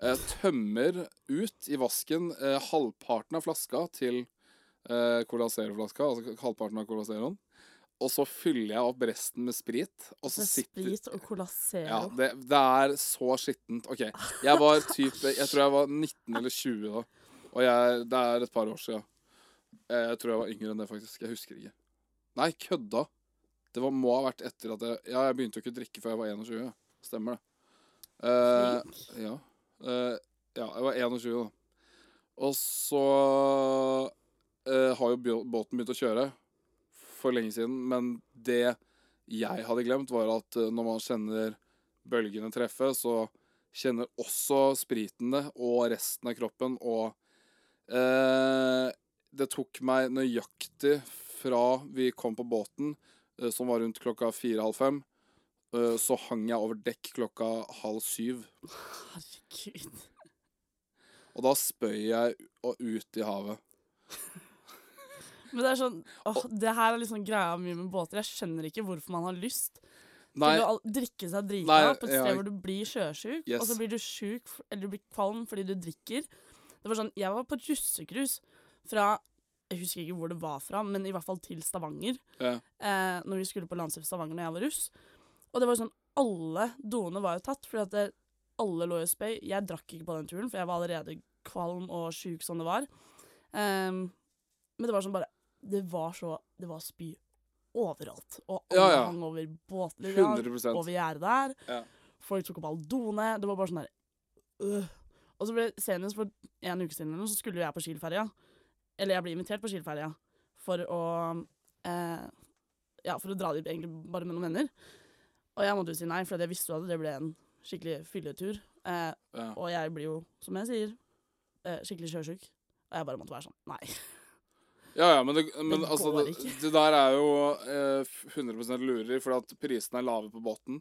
Speaker 1: Eh, tømmer ut i vasken eh, halvparten av flaska til eh, Cola Zero-flaska, altså halvparten av Cola Zeroen. Og så fyller jeg opp resten med sprit, og så
Speaker 2: Så
Speaker 1: sitter
Speaker 2: sprit og colassero.
Speaker 1: ja, det, det er så skittent. Ok, jeg var typ Jeg tror jeg var 19 eller 20 da. Og jeg, det er et par år siden. Eh, Jeg tror jeg var yngre enn det, faktisk. Jeg husker ikke. Nei, kødda! Det var, må ha vært etter at jeg Ja, jeg begynte jo ikke å drikke før jeg var 21. ja. Stemmer det. Eh, ja. Eh, ja, jeg var 21 da. Og så eh, har jo bjå- båten begynt å kjøre for lenge siden, men det jeg hadde glemt, var at eh, når man kjenner bølgene treffe, så kjenner også spriten det, og resten av kroppen, og Eh, det tok meg nøyaktig fra vi kom på båten, eh, som var rundt klokka fire-halv fem, eh, så hang jeg over dekk klokka halv syv.
Speaker 2: Herregud.
Speaker 1: Og da spøy jeg u- og ut i havet.
Speaker 2: Men det er sånn åh, Det her er liksom greia mye med båter. Jeg skjønner ikke hvorfor man har lyst
Speaker 1: Nei,
Speaker 2: til å al- drikke seg drita
Speaker 1: Nei,
Speaker 2: på et
Speaker 1: ja,
Speaker 2: sted
Speaker 1: jeg-
Speaker 2: hvor du blir sjøsjuk, og
Speaker 1: Yes.
Speaker 2: så blir du sjuk f- eller du blir kvalm fordi du drikker. Det var sånn Jeg var på et russekrus fra Jeg husker ikke hvor det var fra, men i hvert fall til Stavanger.
Speaker 1: Ja.
Speaker 2: Eh, når vi skulle på landsrevy i Stavanger når jeg var russ. Og det var sånn Alle doene var jo tatt, fordi at det, alle lå i spøy. Jeg drakk ikke på den turen, for jeg var allerede kvalm og sjuk som det var. Ehm, men det var sånn bare Det var så Det var spy overalt. Og alle
Speaker 1: Ja, ja.
Speaker 2: hang over båter. ja,
Speaker 1: 100
Speaker 2: over gjerdet der.
Speaker 1: Ja.
Speaker 2: Folk tok opp alle doene. Det var bare sånn der øh. Og så ble senest for en uke siden eller noe, så skulle jeg på Kielferja. Eller jeg ble invitert på Kielferja for å eh, Ja, for å dra dit egentlig bare med noen venner. Og jeg måtte jo si nei, for jeg visste jo at det ble en skikkelig fylletur. Eh,
Speaker 1: Ja.
Speaker 2: og jeg blir jo, som jeg sier, eh, skikkelig sjøsjuk. Og jeg bare måtte være sånn Nei.
Speaker 1: Ja, ja, men, det, men
Speaker 2: Det
Speaker 1: altså,
Speaker 2: går
Speaker 1: det,
Speaker 2: ikke.
Speaker 1: det der er jo eh, 100 lureri, fordi at prisene er lave på båten.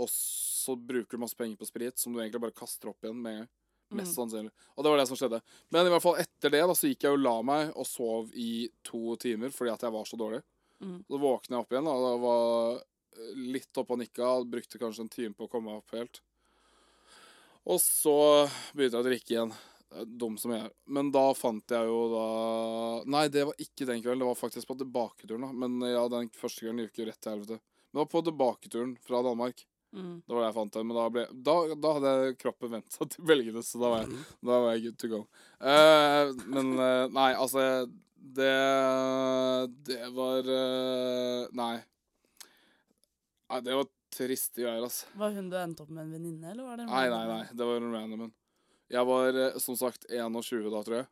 Speaker 1: Og så bruker du masse penger på sprit, som du egentlig bare kaster opp igjen med en gang. Mest
Speaker 2: Mm.
Speaker 1: sannsynlig. Og det var det som skjedde. Men i hvert fall etter det da, så gikk jeg og la meg og sov i to timer fordi at jeg var så dårlig.
Speaker 2: Mm.
Speaker 1: Så våkna jeg opp igjen da, og da var eh, litt oppe og nikka. Brukte kanskje en time på å komme meg opp helt. Og så begynte jeg å drikke igjen. Eh, Dum som jeg er. Men da fant jeg jo da Nei, det var ikke den kvelden. Det var faktisk på tilbaketuren. da. Men eh, ja, den første kvelden gikk jo rett til helvete. Men det var på tilbaketuren fra Danmark.
Speaker 2: Mm.
Speaker 1: Det var det jeg fant det, men da, ble, da, da hadde kroppen vent seg til belgene, så da var jeg, da var jeg good to go. Eh, men eh, nei, altså Det Det var eh, Nei. Nei, det var triste greier, altså.
Speaker 2: Var hun du endte opp med en venninne, eller var det
Speaker 1: Nei, nei, nei. Det var en random en. Jeg var eh, som sagt 21 da, tror jeg.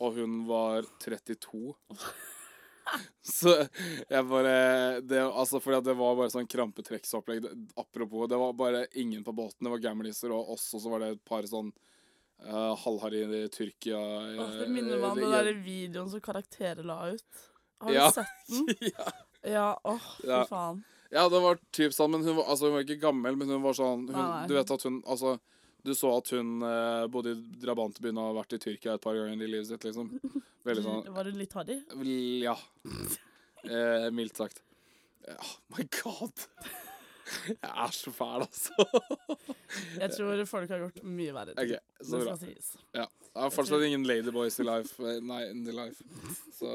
Speaker 1: Og hun var 32. Så jeg bare det, Altså, fordi at det var bare sånn krampetrekksopplegg. Det- Apropos, det var bare ingen på båten. Det var gamliser og oss, og så var det et par sånn uh, halvharry i Tyrkia eh,
Speaker 2: Åh, det minner meg om den der videoen som karakterer la ut. Har du
Speaker 1: Ja.
Speaker 2: sett den?
Speaker 1: ja.
Speaker 2: Ja, åh, fy
Speaker 1: Ja.
Speaker 2: faen.
Speaker 1: ja, det var typ sånn, men hun var, altså, hun var ikke gammel, men hun var sånn hun,
Speaker 2: Nei, nei.
Speaker 1: Du vet at hun Altså, du så at hun eh, bodde i drabantbyen og har vært i Tyrkia et par ganger i livet sitt, liksom. Veldig sånn
Speaker 2: Var du litt harry?
Speaker 1: Vel, Ja. Eh, mildt sagt. Ja, oh my god. Jeg er så fæl, altså.
Speaker 2: Jeg tror folk har gjort mye verre. ting.
Speaker 1: OK, så
Speaker 2: Det
Speaker 1: bra.
Speaker 2: skal sies.
Speaker 1: Jeg har fortsatt ingen ladyboys i life. eh, Nei, in the life. Så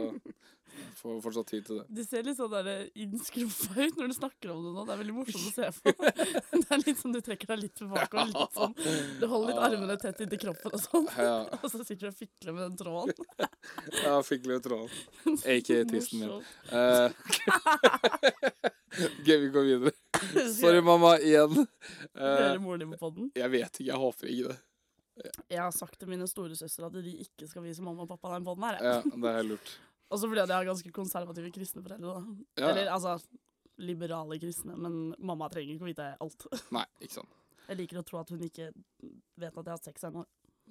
Speaker 1: jeg får fortsatt tid til det.
Speaker 2: Du ser litt sånn der innskrumpa ut når du snakker om det nå. Det er veldig morsomt å se på. Det er litt sånn Du trekker deg litt tilbake. Og litt sånn, du holder litt armene tett inntil kroppen og sånn.
Speaker 1: Ja,
Speaker 2: Og så sitter du og fikler med den tråden.
Speaker 1: jeg fikk litt tråd. AKA tissen min.
Speaker 2: Morsomt.
Speaker 1: Eh, Gøy, vi går videre. Sorry,
Speaker 2: Sorry.
Speaker 1: mamma, igjen. Eh,
Speaker 2: Hører moren din på podden?
Speaker 1: jeg vet ikke, jeg håper ikke det.
Speaker 2: Jeg har sagt til mine storesøstre at de ikke skal vise mamma og pappa den podden her. jeg.
Speaker 1: Ja, det er lurt.
Speaker 2: Og så fordi at jeg har ganske konservative kristne foreldre, da.
Speaker 1: Ja,
Speaker 2: Eller
Speaker 1: ja.
Speaker 2: altså liberale kristne, men mamma trenger ikke å vite alt.
Speaker 1: Nei, ikke sant.
Speaker 2: Jeg liker å tro at hun ikke vet at jeg har sex ennå.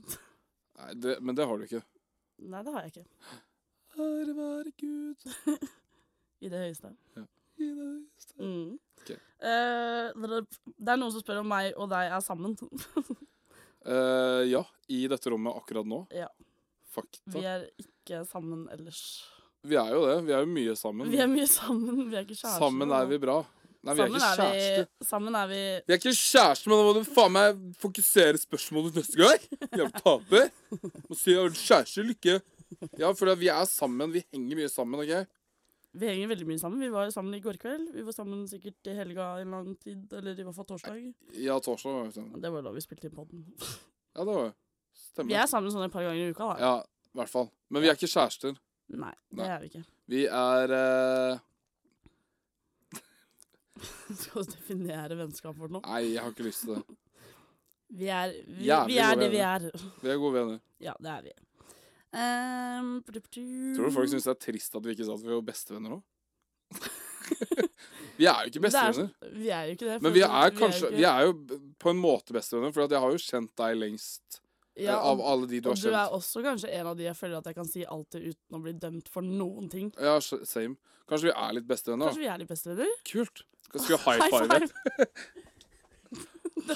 Speaker 1: Nei, det, men det har du ikke.
Speaker 2: Nei, det har jeg ikke.
Speaker 1: Ære være Gud.
Speaker 2: I det høyeste.
Speaker 1: i det høyeste.
Speaker 2: Mm.
Speaker 1: Ok.
Speaker 2: Eh, det er noen som spør om meg og deg er sammen.
Speaker 1: Eh, ja, i dette rommet akkurat nå.
Speaker 2: Ja. Vi
Speaker 1: Fakta.
Speaker 2: er ikke sammen ellers.
Speaker 1: Vi er jo det. Vi er jo mye sammen.
Speaker 2: Vi er mye sammen, vi er ikke kjærester.
Speaker 1: sammen er vi bra. Nei, vi er
Speaker 2: Sammen
Speaker 1: ikke kjærester.
Speaker 2: vi, sammen er vi
Speaker 1: Vi er ikke kjærester, men da må du faen meg fokusere spørsmålet neste gang. Jævla taper. Må si jeg har kjæreste eller ikke. Ja, for vi er sammen. Vi henger mye sammen, OK?
Speaker 2: Vi henger veldig mye sammen. Vi var sammen i går kveld. Vi var sammen sikkert i helga i lang tid, eller i hvert fall torsdag.
Speaker 1: Ja, torsdag var vi sammen.
Speaker 2: Det var da vi spilte inn podden.
Speaker 1: Ja, det var jo.
Speaker 2: Vi
Speaker 1: Stemmer.
Speaker 2: er sammen sånn et par ganger i uka, da.
Speaker 1: Ja, i hvert fall. Men vi er ikke kjærester.
Speaker 2: Nei, det
Speaker 1: Nei.
Speaker 2: er vi ikke.
Speaker 1: Vi er eh,
Speaker 2: Skal vi definere vennskapet vårt nå?
Speaker 1: Nei, jeg har ikke lyst til det.
Speaker 2: Vi er, vi,
Speaker 1: Jævlig
Speaker 2: vi er
Speaker 1: gode
Speaker 2: det vi er.
Speaker 1: Vi er gode venner.
Speaker 2: Ja, det er vi. Ehm, pdu-pdu.
Speaker 1: Tror du folk syns det er trist at vi ikke sa at vi var bestevenner òg? vi er jo ikke
Speaker 2: Det er-
Speaker 1: bestevenner.
Speaker 2: Vi er jo ikke det. for
Speaker 1: Men vi er
Speaker 2: jo
Speaker 1: kanskje
Speaker 2: ikke-
Speaker 1: Vi er jo b- på en måte bestevenner, for jeg har jo kjent deg lengst eh,
Speaker 2: Ja,
Speaker 1: av
Speaker 2: og,
Speaker 1: alle de du
Speaker 2: og
Speaker 1: har
Speaker 2: du
Speaker 1: kjent.
Speaker 2: er også kanskje en av de jeg føler at jeg kan si alt det uten å bli dømt for noen ting.
Speaker 1: Ja, s- same. Kanskje vi er litt bestevenner,
Speaker 2: Kanskje
Speaker 1: da.
Speaker 2: vi er de bestevenner?
Speaker 1: Kult. Skal skal vi high five?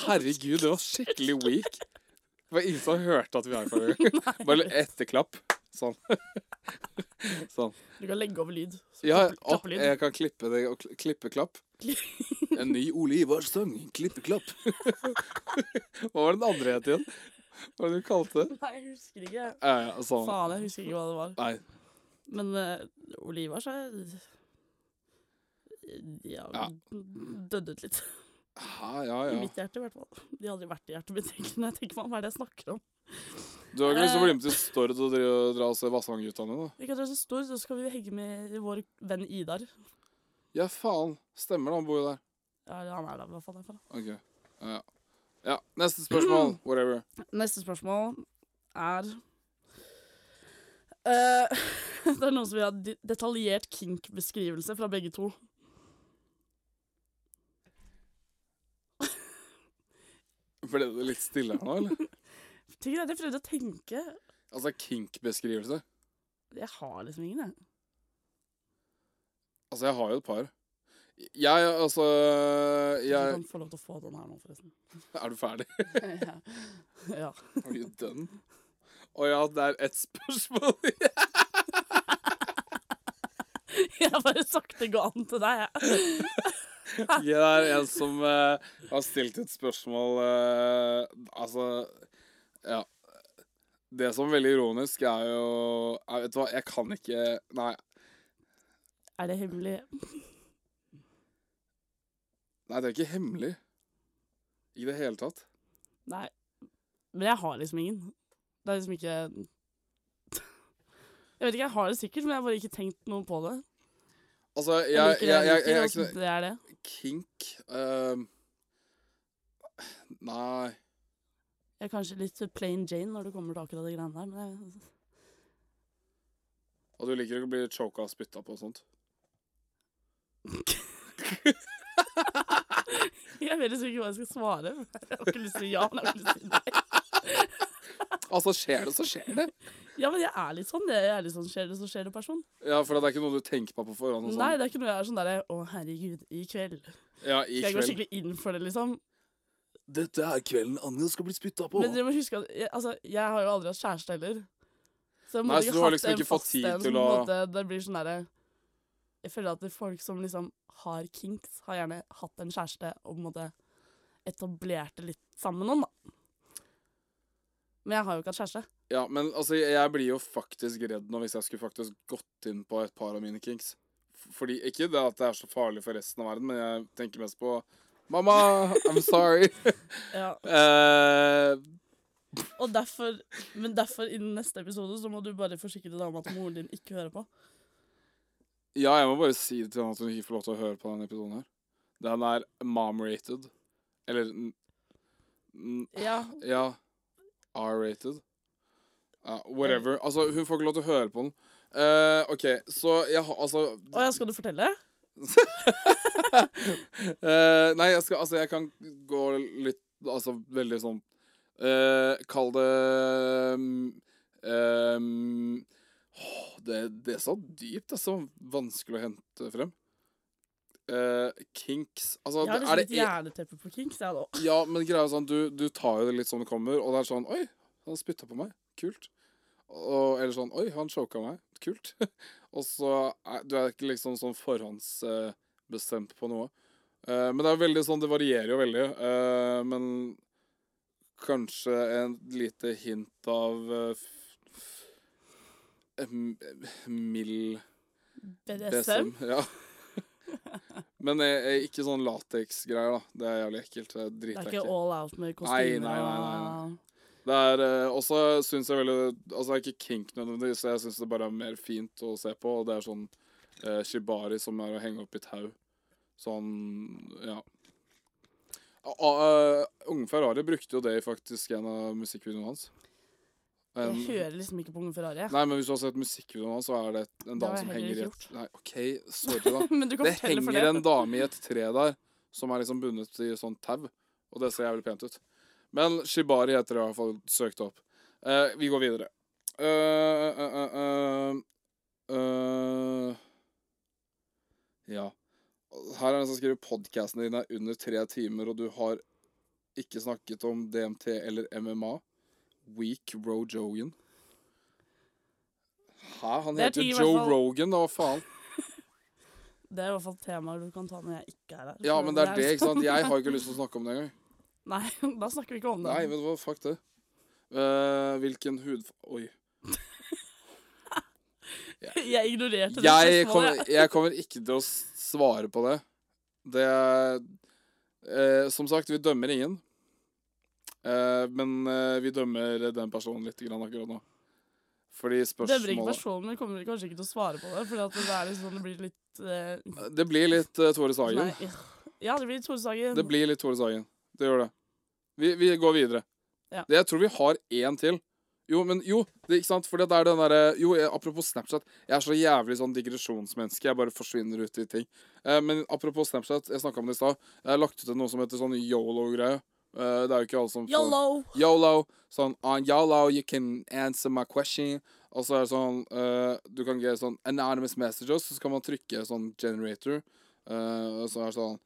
Speaker 1: Herregud, det var skikkelig weak. Det var ingen som hørte at vi high five. Bare litt etterklapp. Sånn. sånn.
Speaker 2: Du kan legge over lyd. Så
Speaker 1: Ja,
Speaker 2: klapp-
Speaker 1: å,
Speaker 2: klappelyd.
Speaker 1: jeg kan klippe det og kl- klippeklapp. En ny Ole Ivars-sang. Klippeklapp. Hva var den andre het igjen? Hva var det du kalte det?
Speaker 2: Nei, jeg husker ikke.
Speaker 1: Ja, ja, sånn.
Speaker 2: Faen, jeg husker ikke hva det var.
Speaker 1: Nei.
Speaker 2: Men uh, Ole Ivar sa Ja,
Speaker 1: Ja.
Speaker 2: døde ut litt.
Speaker 1: Hæ, ja,
Speaker 2: I
Speaker 1: ja.
Speaker 2: mitt hjerte, i hvert fall. De har aldri vært i hjertet mitt, egentlig, når jeg tenker meg om. Hva er det jeg snakker om?
Speaker 1: Du har ikke lyst til å bli med til Stord og dri- og dra og se Vassangutdannet nå?
Speaker 2: Vi kan dra til Stord, så skal vi henge med vår venn Idar.
Speaker 1: Ja, faen. Stemmer det, han bor jo der.
Speaker 2: Ja, eller han er der, i hvert fall. derfra.
Speaker 1: Ok. Ja, ja. ja, neste spørsmål. Whatever.
Speaker 2: Neste spørsmål er Eh, Det er noen som vil ha de- detaljert kink-beskrivelse fra begge to.
Speaker 1: Ble det litt stille her nå, eller?
Speaker 2: Ting er at Jeg prøvde å tenke.
Speaker 1: Altså kink-beskrivelse.
Speaker 2: Jeg har liksom ingen, jeg.
Speaker 1: Altså, jeg har jo et par. Jeg, altså
Speaker 2: Du
Speaker 1: jeg
Speaker 2: kan få lov til å få den her nå, forresten.
Speaker 1: Er du ferdig?
Speaker 2: ja.
Speaker 1: Are you done? Å ja, det er ett spørsmål
Speaker 2: Jeg har bare sakte gå an til deg, jeg.
Speaker 1: Det er en som eh, har stilt et spørsmål eh, Altså Ja. Det som er veldig ironisk, er jo jeg Vet du hva, jeg kan ikke Nei.
Speaker 2: Er det hemmelig?
Speaker 1: Nei, det er ikke hemmelig. I det hele tatt.
Speaker 2: Nei. Men jeg har liksom ingen. Det er liksom ikke Jeg vet ikke, jeg har det sikkert, men jeg har bare ikke tenkt noe på det.
Speaker 1: Altså, jeg,
Speaker 2: Jeg
Speaker 1: jeg,
Speaker 2: liker det
Speaker 1: jeg, jeg,
Speaker 2: liker,
Speaker 1: er
Speaker 2: og
Speaker 1: ikke
Speaker 2: så det er det.
Speaker 1: noe kink ehm, Nei.
Speaker 2: Jeg er kanskje litt plain Jane når det kommer til akkurat de greiene der, men jeg,
Speaker 1: Og du altså, liker ikke å bli choka og spytta på og sånt?
Speaker 2: jeg vet liksom ikke hva jeg skal svare. Jeg har ikke lyst til å si ja, men jeg har ikke lyst til å si nei.
Speaker 1: Altså, skjer det, så skjer det.
Speaker 2: Ja, men jeg er litt sånn. Jeg er litt sånn skjer det, så skjer det, person.
Speaker 1: Ja, for det er ikke noe du tenker på på forhånd? Og
Speaker 2: Nei,
Speaker 1: sånn.
Speaker 2: det er ikke noe jeg er sånn derre Å, herregud, i kveld.
Speaker 1: ja, i
Speaker 2: Skal jeg gå
Speaker 1: kveld.
Speaker 2: skikkelig inn for det, liksom?
Speaker 1: Dette er kvelden Anja skal bli spytta
Speaker 2: Men dere må huske at jeg, altså, jeg har jo aldri hatt kjæreste heller. Så jeg må
Speaker 1: Nei,
Speaker 2: ikke
Speaker 1: så du har
Speaker 2: hatt
Speaker 1: liksom
Speaker 2: en
Speaker 1: ikke fått
Speaker 2: fast
Speaker 1: tid
Speaker 2: en
Speaker 1: til
Speaker 2: som på en
Speaker 1: å-
Speaker 2: måte- Det blir sånn derre Jeg føler at det er folk som liksom har kinks, har gjerne hatt en kjæreste og på en måte etablert det litt sammen med noen, da. Men jeg har jo ikke hatt kjæreste.
Speaker 1: Ja, men altså, jeg- jeg blir jo faktisk redd nå hvis jeg skulle faktisk gått inn på et par av mine kinks. F- Fordi, ikke det at det er så farlig for resten av verden, men jeg tenker mest på Mamma, I'm sorry. Eh,
Speaker 2: Og derfor, men derfor innen neste episode så må du bare forsikre deg om at moren din ikke hører på.
Speaker 1: ja, jeg må bare si det til henne at hun ikke får lov til å høre på denne episoden her. Den er mom-rated. Eller n- n-
Speaker 2: Ja,
Speaker 1: Ja. R-rated. Ja, whatever. Altså, hun får ikke lov til å høre på den. Eh, OK, så jeg har altså
Speaker 2: Og jeg skal du fortelle?
Speaker 1: Eh, nei, jeg skal Altså, jeg kan gå litt Altså, veldig sånn eh, Kall det mm, ehm, åh, det, det er så dypt. Det er så vanskelig å hente frem. Eh, kinks Altså,
Speaker 2: Jeg har
Speaker 1: er
Speaker 2: liksom litt
Speaker 1: det en,
Speaker 2: hjerneteppe på kinks, jeg da.
Speaker 1: Ja, men greia er sånn du, du tar jo det litt som det kommer, og det er sånn Oi, han spytta på meg. Kult. Og, eller sånn Oi, han choka meg. Kult. og så er, Du er ikke liksom sånn forhåndsbestemt på noe. Eh, men det er veldig sånn Det varierer jo veldig. eh, men kanskje en lite hint av eh, f- f- em- mild
Speaker 2: BDSM.
Speaker 1: BDSM. Ja. Men eh, eh, ikke sånn lateksgreier, da. Det er jævlig ekkelt. Det
Speaker 2: Det
Speaker 1: driter
Speaker 2: er
Speaker 1: jeg
Speaker 2: ikke
Speaker 1: ikke i.
Speaker 2: all out med
Speaker 1: Nei,
Speaker 2: kostymer
Speaker 1: nei, nei, nei,
Speaker 2: og
Speaker 1: Det er eh, også, syns jeg veldig Altså, det er ikke kink nødvendigvis, jeg syns det bare er mer fint å se på, og det er sånn eh, shibari som er å henge opp i tau. Sånn Ja. A- a- eh, Unge Ferrari brukte jo det i faktisk en av musikkvideoene hans. En-
Speaker 2: Jeg hører liksom ikke på Unge Ferrari. jeg.
Speaker 1: Nei, men hvis du har sett musikkvideoen hans, så er det et- en
Speaker 2: Det har
Speaker 1: dame som
Speaker 2: jeg heller
Speaker 1: henger i
Speaker 2: ikke
Speaker 1: et Nei, OK, sorry, da.
Speaker 2: Men du kan
Speaker 1: Det
Speaker 2: fortelle for det.
Speaker 1: henger en dame i et tre der, som er liksom bundet i sånn tau, og det ser jævlig pent ut. Men Shibari heter det i hvert fall, søkt opp. Eh, vi går videre. Eh, eh, eh, eh, eh, ja. Her er det en som skriver podkasten din er under tre timer, og du har ikke snakket om DMT eller MMA. Weak Rojogan. Hæ? Han
Speaker 2: Det er
Speaker 1: heter
Speaker 2: ti i hvert
Speaker 1: Joe
Speaker 2: fall.
Speaker 1: Rogan, da, hva faen?
Speaker 2: Det er i hvert fall temaer du kan ta når jeg ikke er her.
Speaker 1: Ja,
Speaker 2: så
Speaker 1: men det er det, ikke sant?
Speaker 2: liksom-
Speaker 1: Jeg har ikke lyst til å snakke om det engang.
Speaker 2: Nei, da snakker vi ikke om det.
Speaker 1: Nei, vet du hva, fuck det. Eh, hvilken hud... Oi.
Speaker 2: Jeg ignorerte det
Speaker 1: jeg
Speaker 2: spørsmålet.
Speaker 1: kommer, jeg kommer ikke til å s- svare på det. Det er eh, Som sagt, vi dømmer ingen. Eh, men eh, vi dømmer den personen litt grann akkurat nå. Fordi
Speaker 2: Dømmer ikke
Speaker 1: spørsmålet
Speaker 2: personen, men kommer kanskje ikke til å svare på det. For det, er liksom, det blir litt eh,
Speaker 1: Det blir litt eh, Tore Sagen.
Speaker 2: nei. Ja, det blir Tore Sagen.
Speaker 1: Det blir litt Tore Sagen. Det gjør det. Vi, vi går videre.
Speaker 2: Ja.
Speaker 1: Det, jeg tror vi har én til. Jo, men jo, det, ikke sant? For det er den derre Jo, jeg, apropos Snapchat. Jeg er så jævlig sånn digresjonsmenneske. Jeg bare forsvinner ut i ting. Eh, men apropos Snapchat, jeg snakka om det i stad. Jeg har lagt ut noe som heter sånn yolo-greie. Eh, det er jo ikke alle som får-
Speaker 2: Yolo!
Speaker 1: Yolo. Sånn on Yolo, you can answer my question. Og så er det sånn eh, Du kan gjøre sånn anonymous messages, så skal man trykke sånn generator. eh, og så er det sånn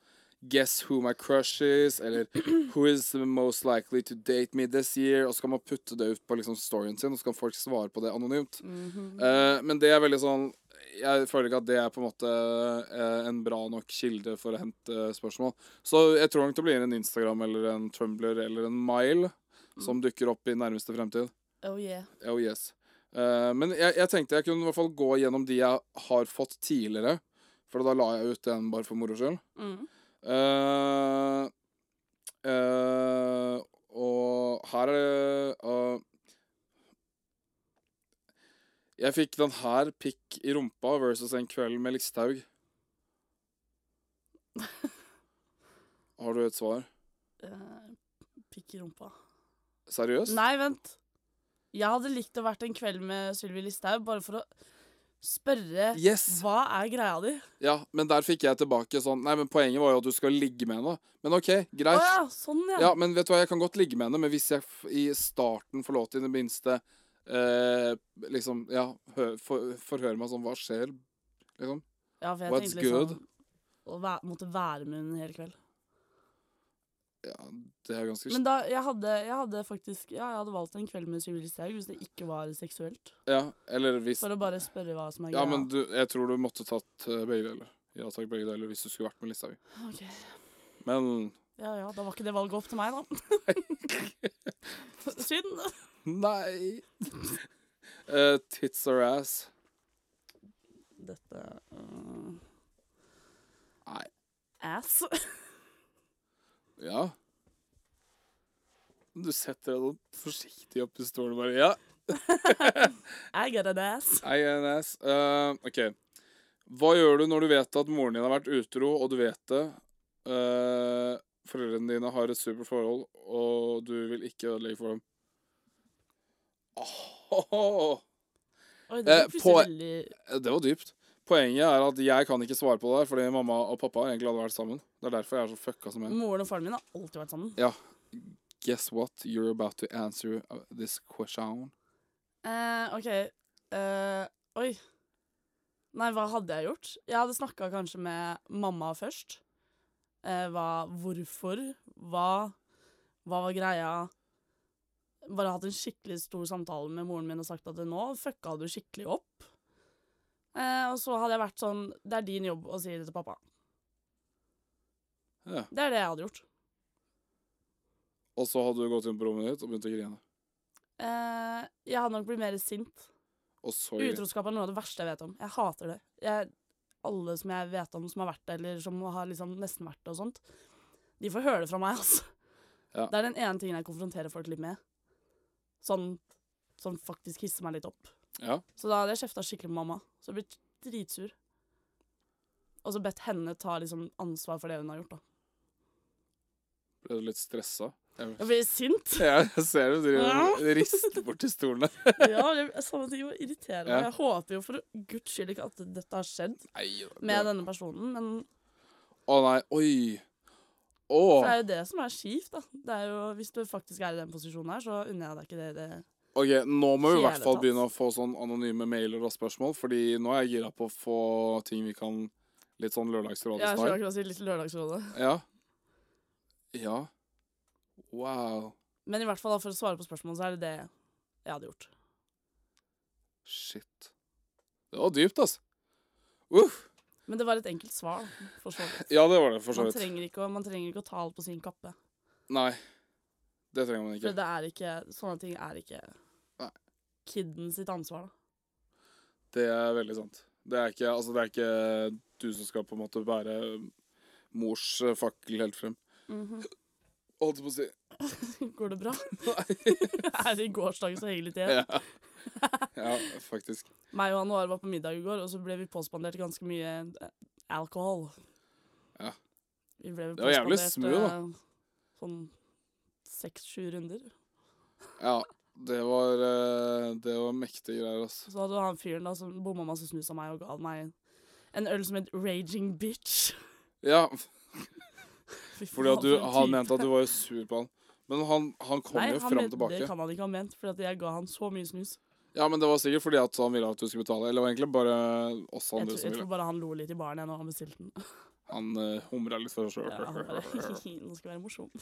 Speaker 1: Guess who my crush is, eller Who is the most likely to date me this year? Og så kan man putte det ut på liksom storyen sin, og så kan folk svare på det anonymt.
Speaker 2: Mhm.
Speaker 1: Eh, men det er veldig sånn Jeg føler ikke at det er på en måte eh, en bra nok kilde for å hente eh, spørsmål. Så jeg tror nok det blir en Instagram eller en Tumblr eller en Mile som dukker opp i nærmeste fremtid.
Speaker 2: Oh yeah.
Speaker 1: Oh yes. Eh, men jeg, jeg tenkte jeg kunne i hvert fall gå gjennom de jeg har fått tidligere. For da la jeg ut den bare for moro skyld.
Speaker 2: Mm.
Speaker 1: Eh, eh, og her er det eh, Jeg fikk den her pikk i rumpa versus en kveld med Listhaug. Har du et svar?
Speaker 2: Eh, pikk i rumpa.
Speaker 1: Seriøst?
Speaker 2: Nei, vent. Jeg hadde likt å vært en kveld med Sylvi Listhaug bare for å spørre
Speaker 1: Yes!
Speaker 2: hva er greia di?
Speaker 1: Ja, men der fikk jeg tilbake sånn Nei, men poenget var jo at du skal ligge med henne. Men OK,
Speaker 2: Å
Speaker 1: greit.
Speaker 2: ja, sånn ja.
Speaker 1: Ja, men vet du hva, jeg kan godt ligge med henne, men hvis jeg f i starten får lov til i det minste eh, Liksom, ja, hø- for, forhøre meg sånn Hva skjer? Liksom.
Speaker 2: Ja, for jeg
Speaker 1: What's
Speaker 2: tenkte liksom Å væ måtte være med henne en hel kveld.
Speaker 1: Ja, det er ganske
Speaker 2: Men da, jeg hadde, jeg hadde faktisk Ja, jeg hadde valgt en kveld med Sylvi Listhaug hvis det ikke var seksuelt.
Speaker 1: Ja, eller hvis
Speaker 2: For å bare spørre hva som er
Speaker 1: Ja,
Speaker 2: greia.
Speaker 1: men du, jeg tror du måtte tatt eh, begge deler. Ja takk, begge deler, hvis du skulle vært med Listhaug.
Speaker 2: Ok.
Speaker 1: Men
Speaker 2: Ja ja, da var ikke det valget opp til meg, da. Synd.
Speaker 1: nei! Eh, tits or ass.
Speaker 2: Dette øh,
Speaker 1: Nei.
Speaker 2: Ass.
Speaker 1: Ja. Du setter deg sånn forsiktig opp i stolen og bare Ja,
Speaker 2: I got an ass.
Speaker 1: I an ass. Eh, ok. Hva gjør du når du vet at moren din har vært utro, og du vet det? Eh, foreldrene dine har et supert forhold, og du vil ikke ødelegge for dem. Åh,
Speaker 2: Oi, det
Speaker 1: Eh,
Speaker 2: ble
Speaker 1: på-
Speaker 2: plutselig veldig
Speaker 1: det var dypt. Poenget er at jeg kan ikke svare på det her, fordi mamma og pappa egentlig hadde vært sammen. Det er derfor jeg er så fucka som jeg er.
Speaker 2: Moren og faren min har alltid vært sammen.
Speaker 1: Guess what? You're about to answer uh, this question.
Speaker 2: Eh, OK. Eh, oi. Nei, hva hadde jeg gjort? Jeg hadde snakka kanskje med mamma først. Eh, hva Hvorfor? Hva Hva var greia? Bare hatt en skikkelig stor samtale med moren min og sagt at nå fucka du skikkelig opp. Eh, og så hadde jeg vært sånn Det er din jobb å si det til pappa.
Speaker 1: Ja.
Speaker 2: Det er det jeg hadde gjort.
Speaker 1: Og så hadde du gått inn på rommet ditt og begynt å grine.
Speaker 2: Eh, jeg hadde nok blitt mer sint.
Speaker 1: Og så grine.
Speaker 2: Utroskap er noe av det verste jeg vet om. Jeg hater det. Jeg, alle som jeg vet om som har vært det, eller som har liksom nesten vært det og sånt, de får høre det fra meg, altså.
Speaker 1: Ja.
Speaker 2: Det er den ene tingen jeg konfronterer folk litt med. Sånn som faktisk hisser meg litt opp.
Speaker 1: Ja.
Speaker 2: Så da hadde jeg kjefta skikkelig på mamma. Så jeg blitt dritsur. Og så bedt henne ta liksom ansvar for det hun har gjort, da.
Speaker 1: Ble du litt stressa? Jeg-
Speaker 2: Jeg blir sint.
Speaker 1: Ja, jeg ser du driver rister borti stolen der.
Speaker 2: Ja, det- samme ting å irritere meg.
Speaker 1: Ja.
Speaker 2: Jeg håper jo for guds skyld ikke at dette har skjedd
Speaker 1: Nei, det-
Speaker 2: med denne personen, men
Speaker 1: Å nei, oi. Å,
Speaker 2: For det er jo det som er skivt, da. Det er jo, hvis du faktisk er i den posisjonen her, så unner jeg deg ikke det i det
Speaker 1: Ok, Nå må vi i hvert
Speaker 2: Hele
Speaker 1: fall
Speaker 2: tatt.
Speaker 1: begynne å få sånn anonyme mailer og spørsmål, fordi nå er jeg gira på å få ting vi kan litt sånn lørdagsrådet
Speaker 2: Jeg skulle
Speaker 1: snart.
Speaker 2: akkurat si litt Lørdagsrådet.
Speaker 1: Ja. ja. Wow.
Speaker 2: Men i hvert fall da, for å svare på spørsmålet, så er det det jeg hadde gjort.
Speaker 1: Shit. Det var dypt, altså. Uff.
Speaker 2: Men det var et enkelt svar. For så vidt.
Speaker 1: Ja, det var det, for så
Speaker 2: Man,
Speaker 1: vidt.
Speaker 2: trenger ikke å, man trenger ikke å ta alt på sin kappe.
Speaker 1: Nei. Det trenger man
Speaker 2: For
Speaker 1: ikke.
Speaker 2: det er ikke, sånne ting er ikke
Speaker 1: Nei.
Speaker 2: kidden sitt ansvar. Da.
Speaker 1: Det er veldig sant. Det er ikke, altså, det er ikke du som skal på en måte bære mors eh, fakkel helt frem. Mhm. Holdt jeg på å si.
Speaker 2: Går det bra?
Speaker 1: Nei.
Speaker 2: er det i gårsdagen så hyggelig til?
Speaker 1: Ja. ja, faktisk.
Speaker 2: Meg og Anuar var på middag i går, og så ble vi påspandert ganske mye eh, alkohol.
Speaker 1: Ja.
Speaker 2: Vi ble
Speaker 1: Det var jævlig
Speaker 2: påspandert,
Speaker 1: smooth, da.
Speaker 2: eh, Sånn seks-sju runder.
Speaker 1: Ja, det var, eh, det var mektige greier, altså.
Speaker 2: Så hadde han fyren da som bomma masse snus av meg og ga meg en øl som het Raging Bitch.
Speaker 1: Ja,
Speaker 2: Fy faen,
Speaker 1: fordi at du,
Speaker 2: for en
Speaker 1: han
Speaker 2: type.
Speaker 1: mente at du var jo sur på han. Men han, han kom
Speaker 2: Nei,
Speaker 1: jo
Speaker 2: han
Speaker 1: fram
Speaker 2: mente- Det
Speaker 1: tilbake.
Speaker 2: kan han ikke ha ment, for jeg ga han så mye snus.
Speaker 1: Ja, men det var sikkert fordi at han ville at du skulle betale. Eller det var egentlig bare oss
Speaker 2: Jeg,
Speaker 1: andre
Speaker 2: tror-
Speaker 1: som
Speaker 2: jeg tror
Speaker 1: ville.
Speaker 2: bare han lo litt i baren jeg når han bestilte den.
Speaker 1: Han uh, humra litt for seg
Speaker 2: Ja, han bare,
Speaker 1: sjøl.
Speaker 2: Nå skal jeg være morsom.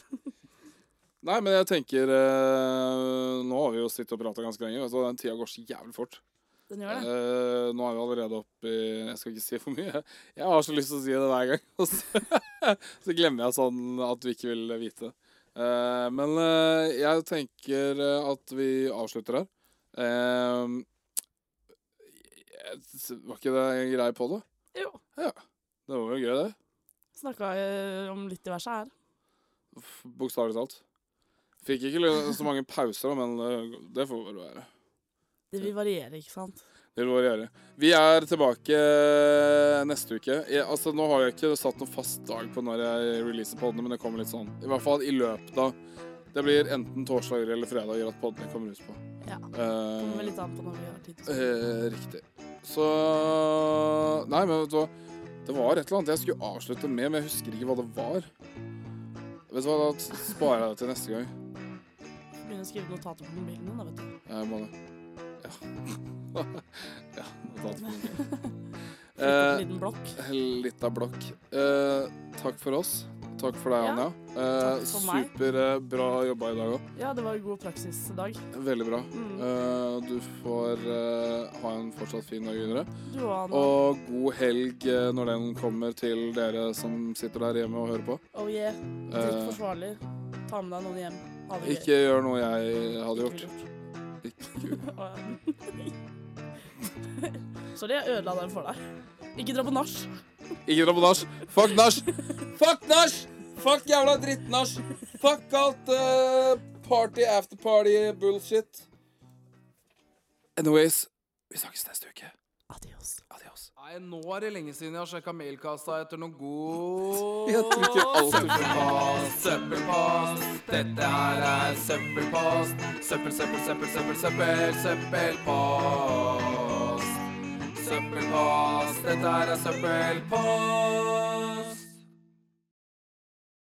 Speaker 1: Nei, men jeg tenker eh, Nå har vi jo sittet og prata ganske lenge, så den tida går så jævlig fort.
Speaker 2: Den gjør det.
Speaker 1: Eh, nå er vi allerede oppe i Jeg skal ikke si for mye. Jeg har så lyst til å si det hver gang, og så, så glemmer jeg sånn at du ikke vil vite. Eh, men eh, jeg tenker eh, at vi avslutter her. Eh, jeg- var ikke det en greie på det?
Speaker 2: Jo.
Speaker 1: Det var jo gøy, det.
Speaker 2: Snakka eh, om litt diverse her.
Speaker 1: F- Bokstavelig talt. Fikk ikke lø- så mange pauser, da, men eh, det får vel være.
Speaker 2: Det vil variere, ikke sant?
Speaker 1: Det vil bare gjøre. Vi er tilbake eh, neste uke. Jeg, altså, nå har jeg ikke satt noen fast dag på når jeg releaser podene, men det kommer litt sånn. I hvert fall i løpet av Det blir enten torsdager eller fredager at podene kommer ut på.
Speaker 2: Ja.
Speaker 1: Eh,
Speaker 2: Kommer vel litt an på når vi har tid. til å snakke.
Speaker 1: eh, riktig. Så Nei, men vet du hva? Det var et eller annet jeg skulle avslutte med, men jeg husker ikke hva det var. Vet du hva, da sparer jeg det til neste gang.
Speaker 2: Begynne å skrive notater på mobilen din, da, vet du.
Speaker 1: Jeg må det. Eh, Ja. ja, notat på mobilen. Eh.
Speaker 2: Flytte opp en liten blokk.
Speaker 1: Litt av blokk. Eh, takk for oss. Takk for deg,
Speaker 2: Ja.
Speaker 1: Anja. Eh,
Speaker 2: Takk for meg.
Speaker 1: Superbra jobba i dag òg.
Speaker 2: Ja, det var en god praksisdag.
Speaker 1: Veldig bra.
Speaker 2: Mm.
Speaker 1: Eh, du får eh, ha en fortsatt fin dag videre.
Speaker 2: Du og Anna.
Speaker 1: Og god helg eh, når den kommer til dere som sitter der hjemme og hører på.
Speaker 2: Oh yeah. Drikk
Speaker 1: Eh,
Speaker 2: forsvarlig. Ta med deg noen hjem. Ha det gøy.
Speaker 1: ikke gjør noe jeg hadde
Speaker 2: Ikke
Speaker 1: gjort. Ikke gjør.
Speaker 2: gjort. Å, ja. Sorry, jeg ødela den for deg. Ikke dra på nach.
Speaker 1: Ikke dra på nach. Fuck nach! Fuck nach! Fuck jævla drittnach! Fuck alt eh, party after party bullshit. Anyways, vi snakkes neste uke.
Speaker 2: Adios.
Speaker 1: Adios.
Speaker 3: Nei, nå er det lenge siden jeg har sjekka mailkassa etter noe god
Speaker 1: Jeg trykker alltid på.
Speaker 3: Søppelpost, søppelpost. Dette her er søppelpost. Søppel, søppel, søppel, søppel, søppel, søppelpost. Søppelpost, dette her er søppelpost.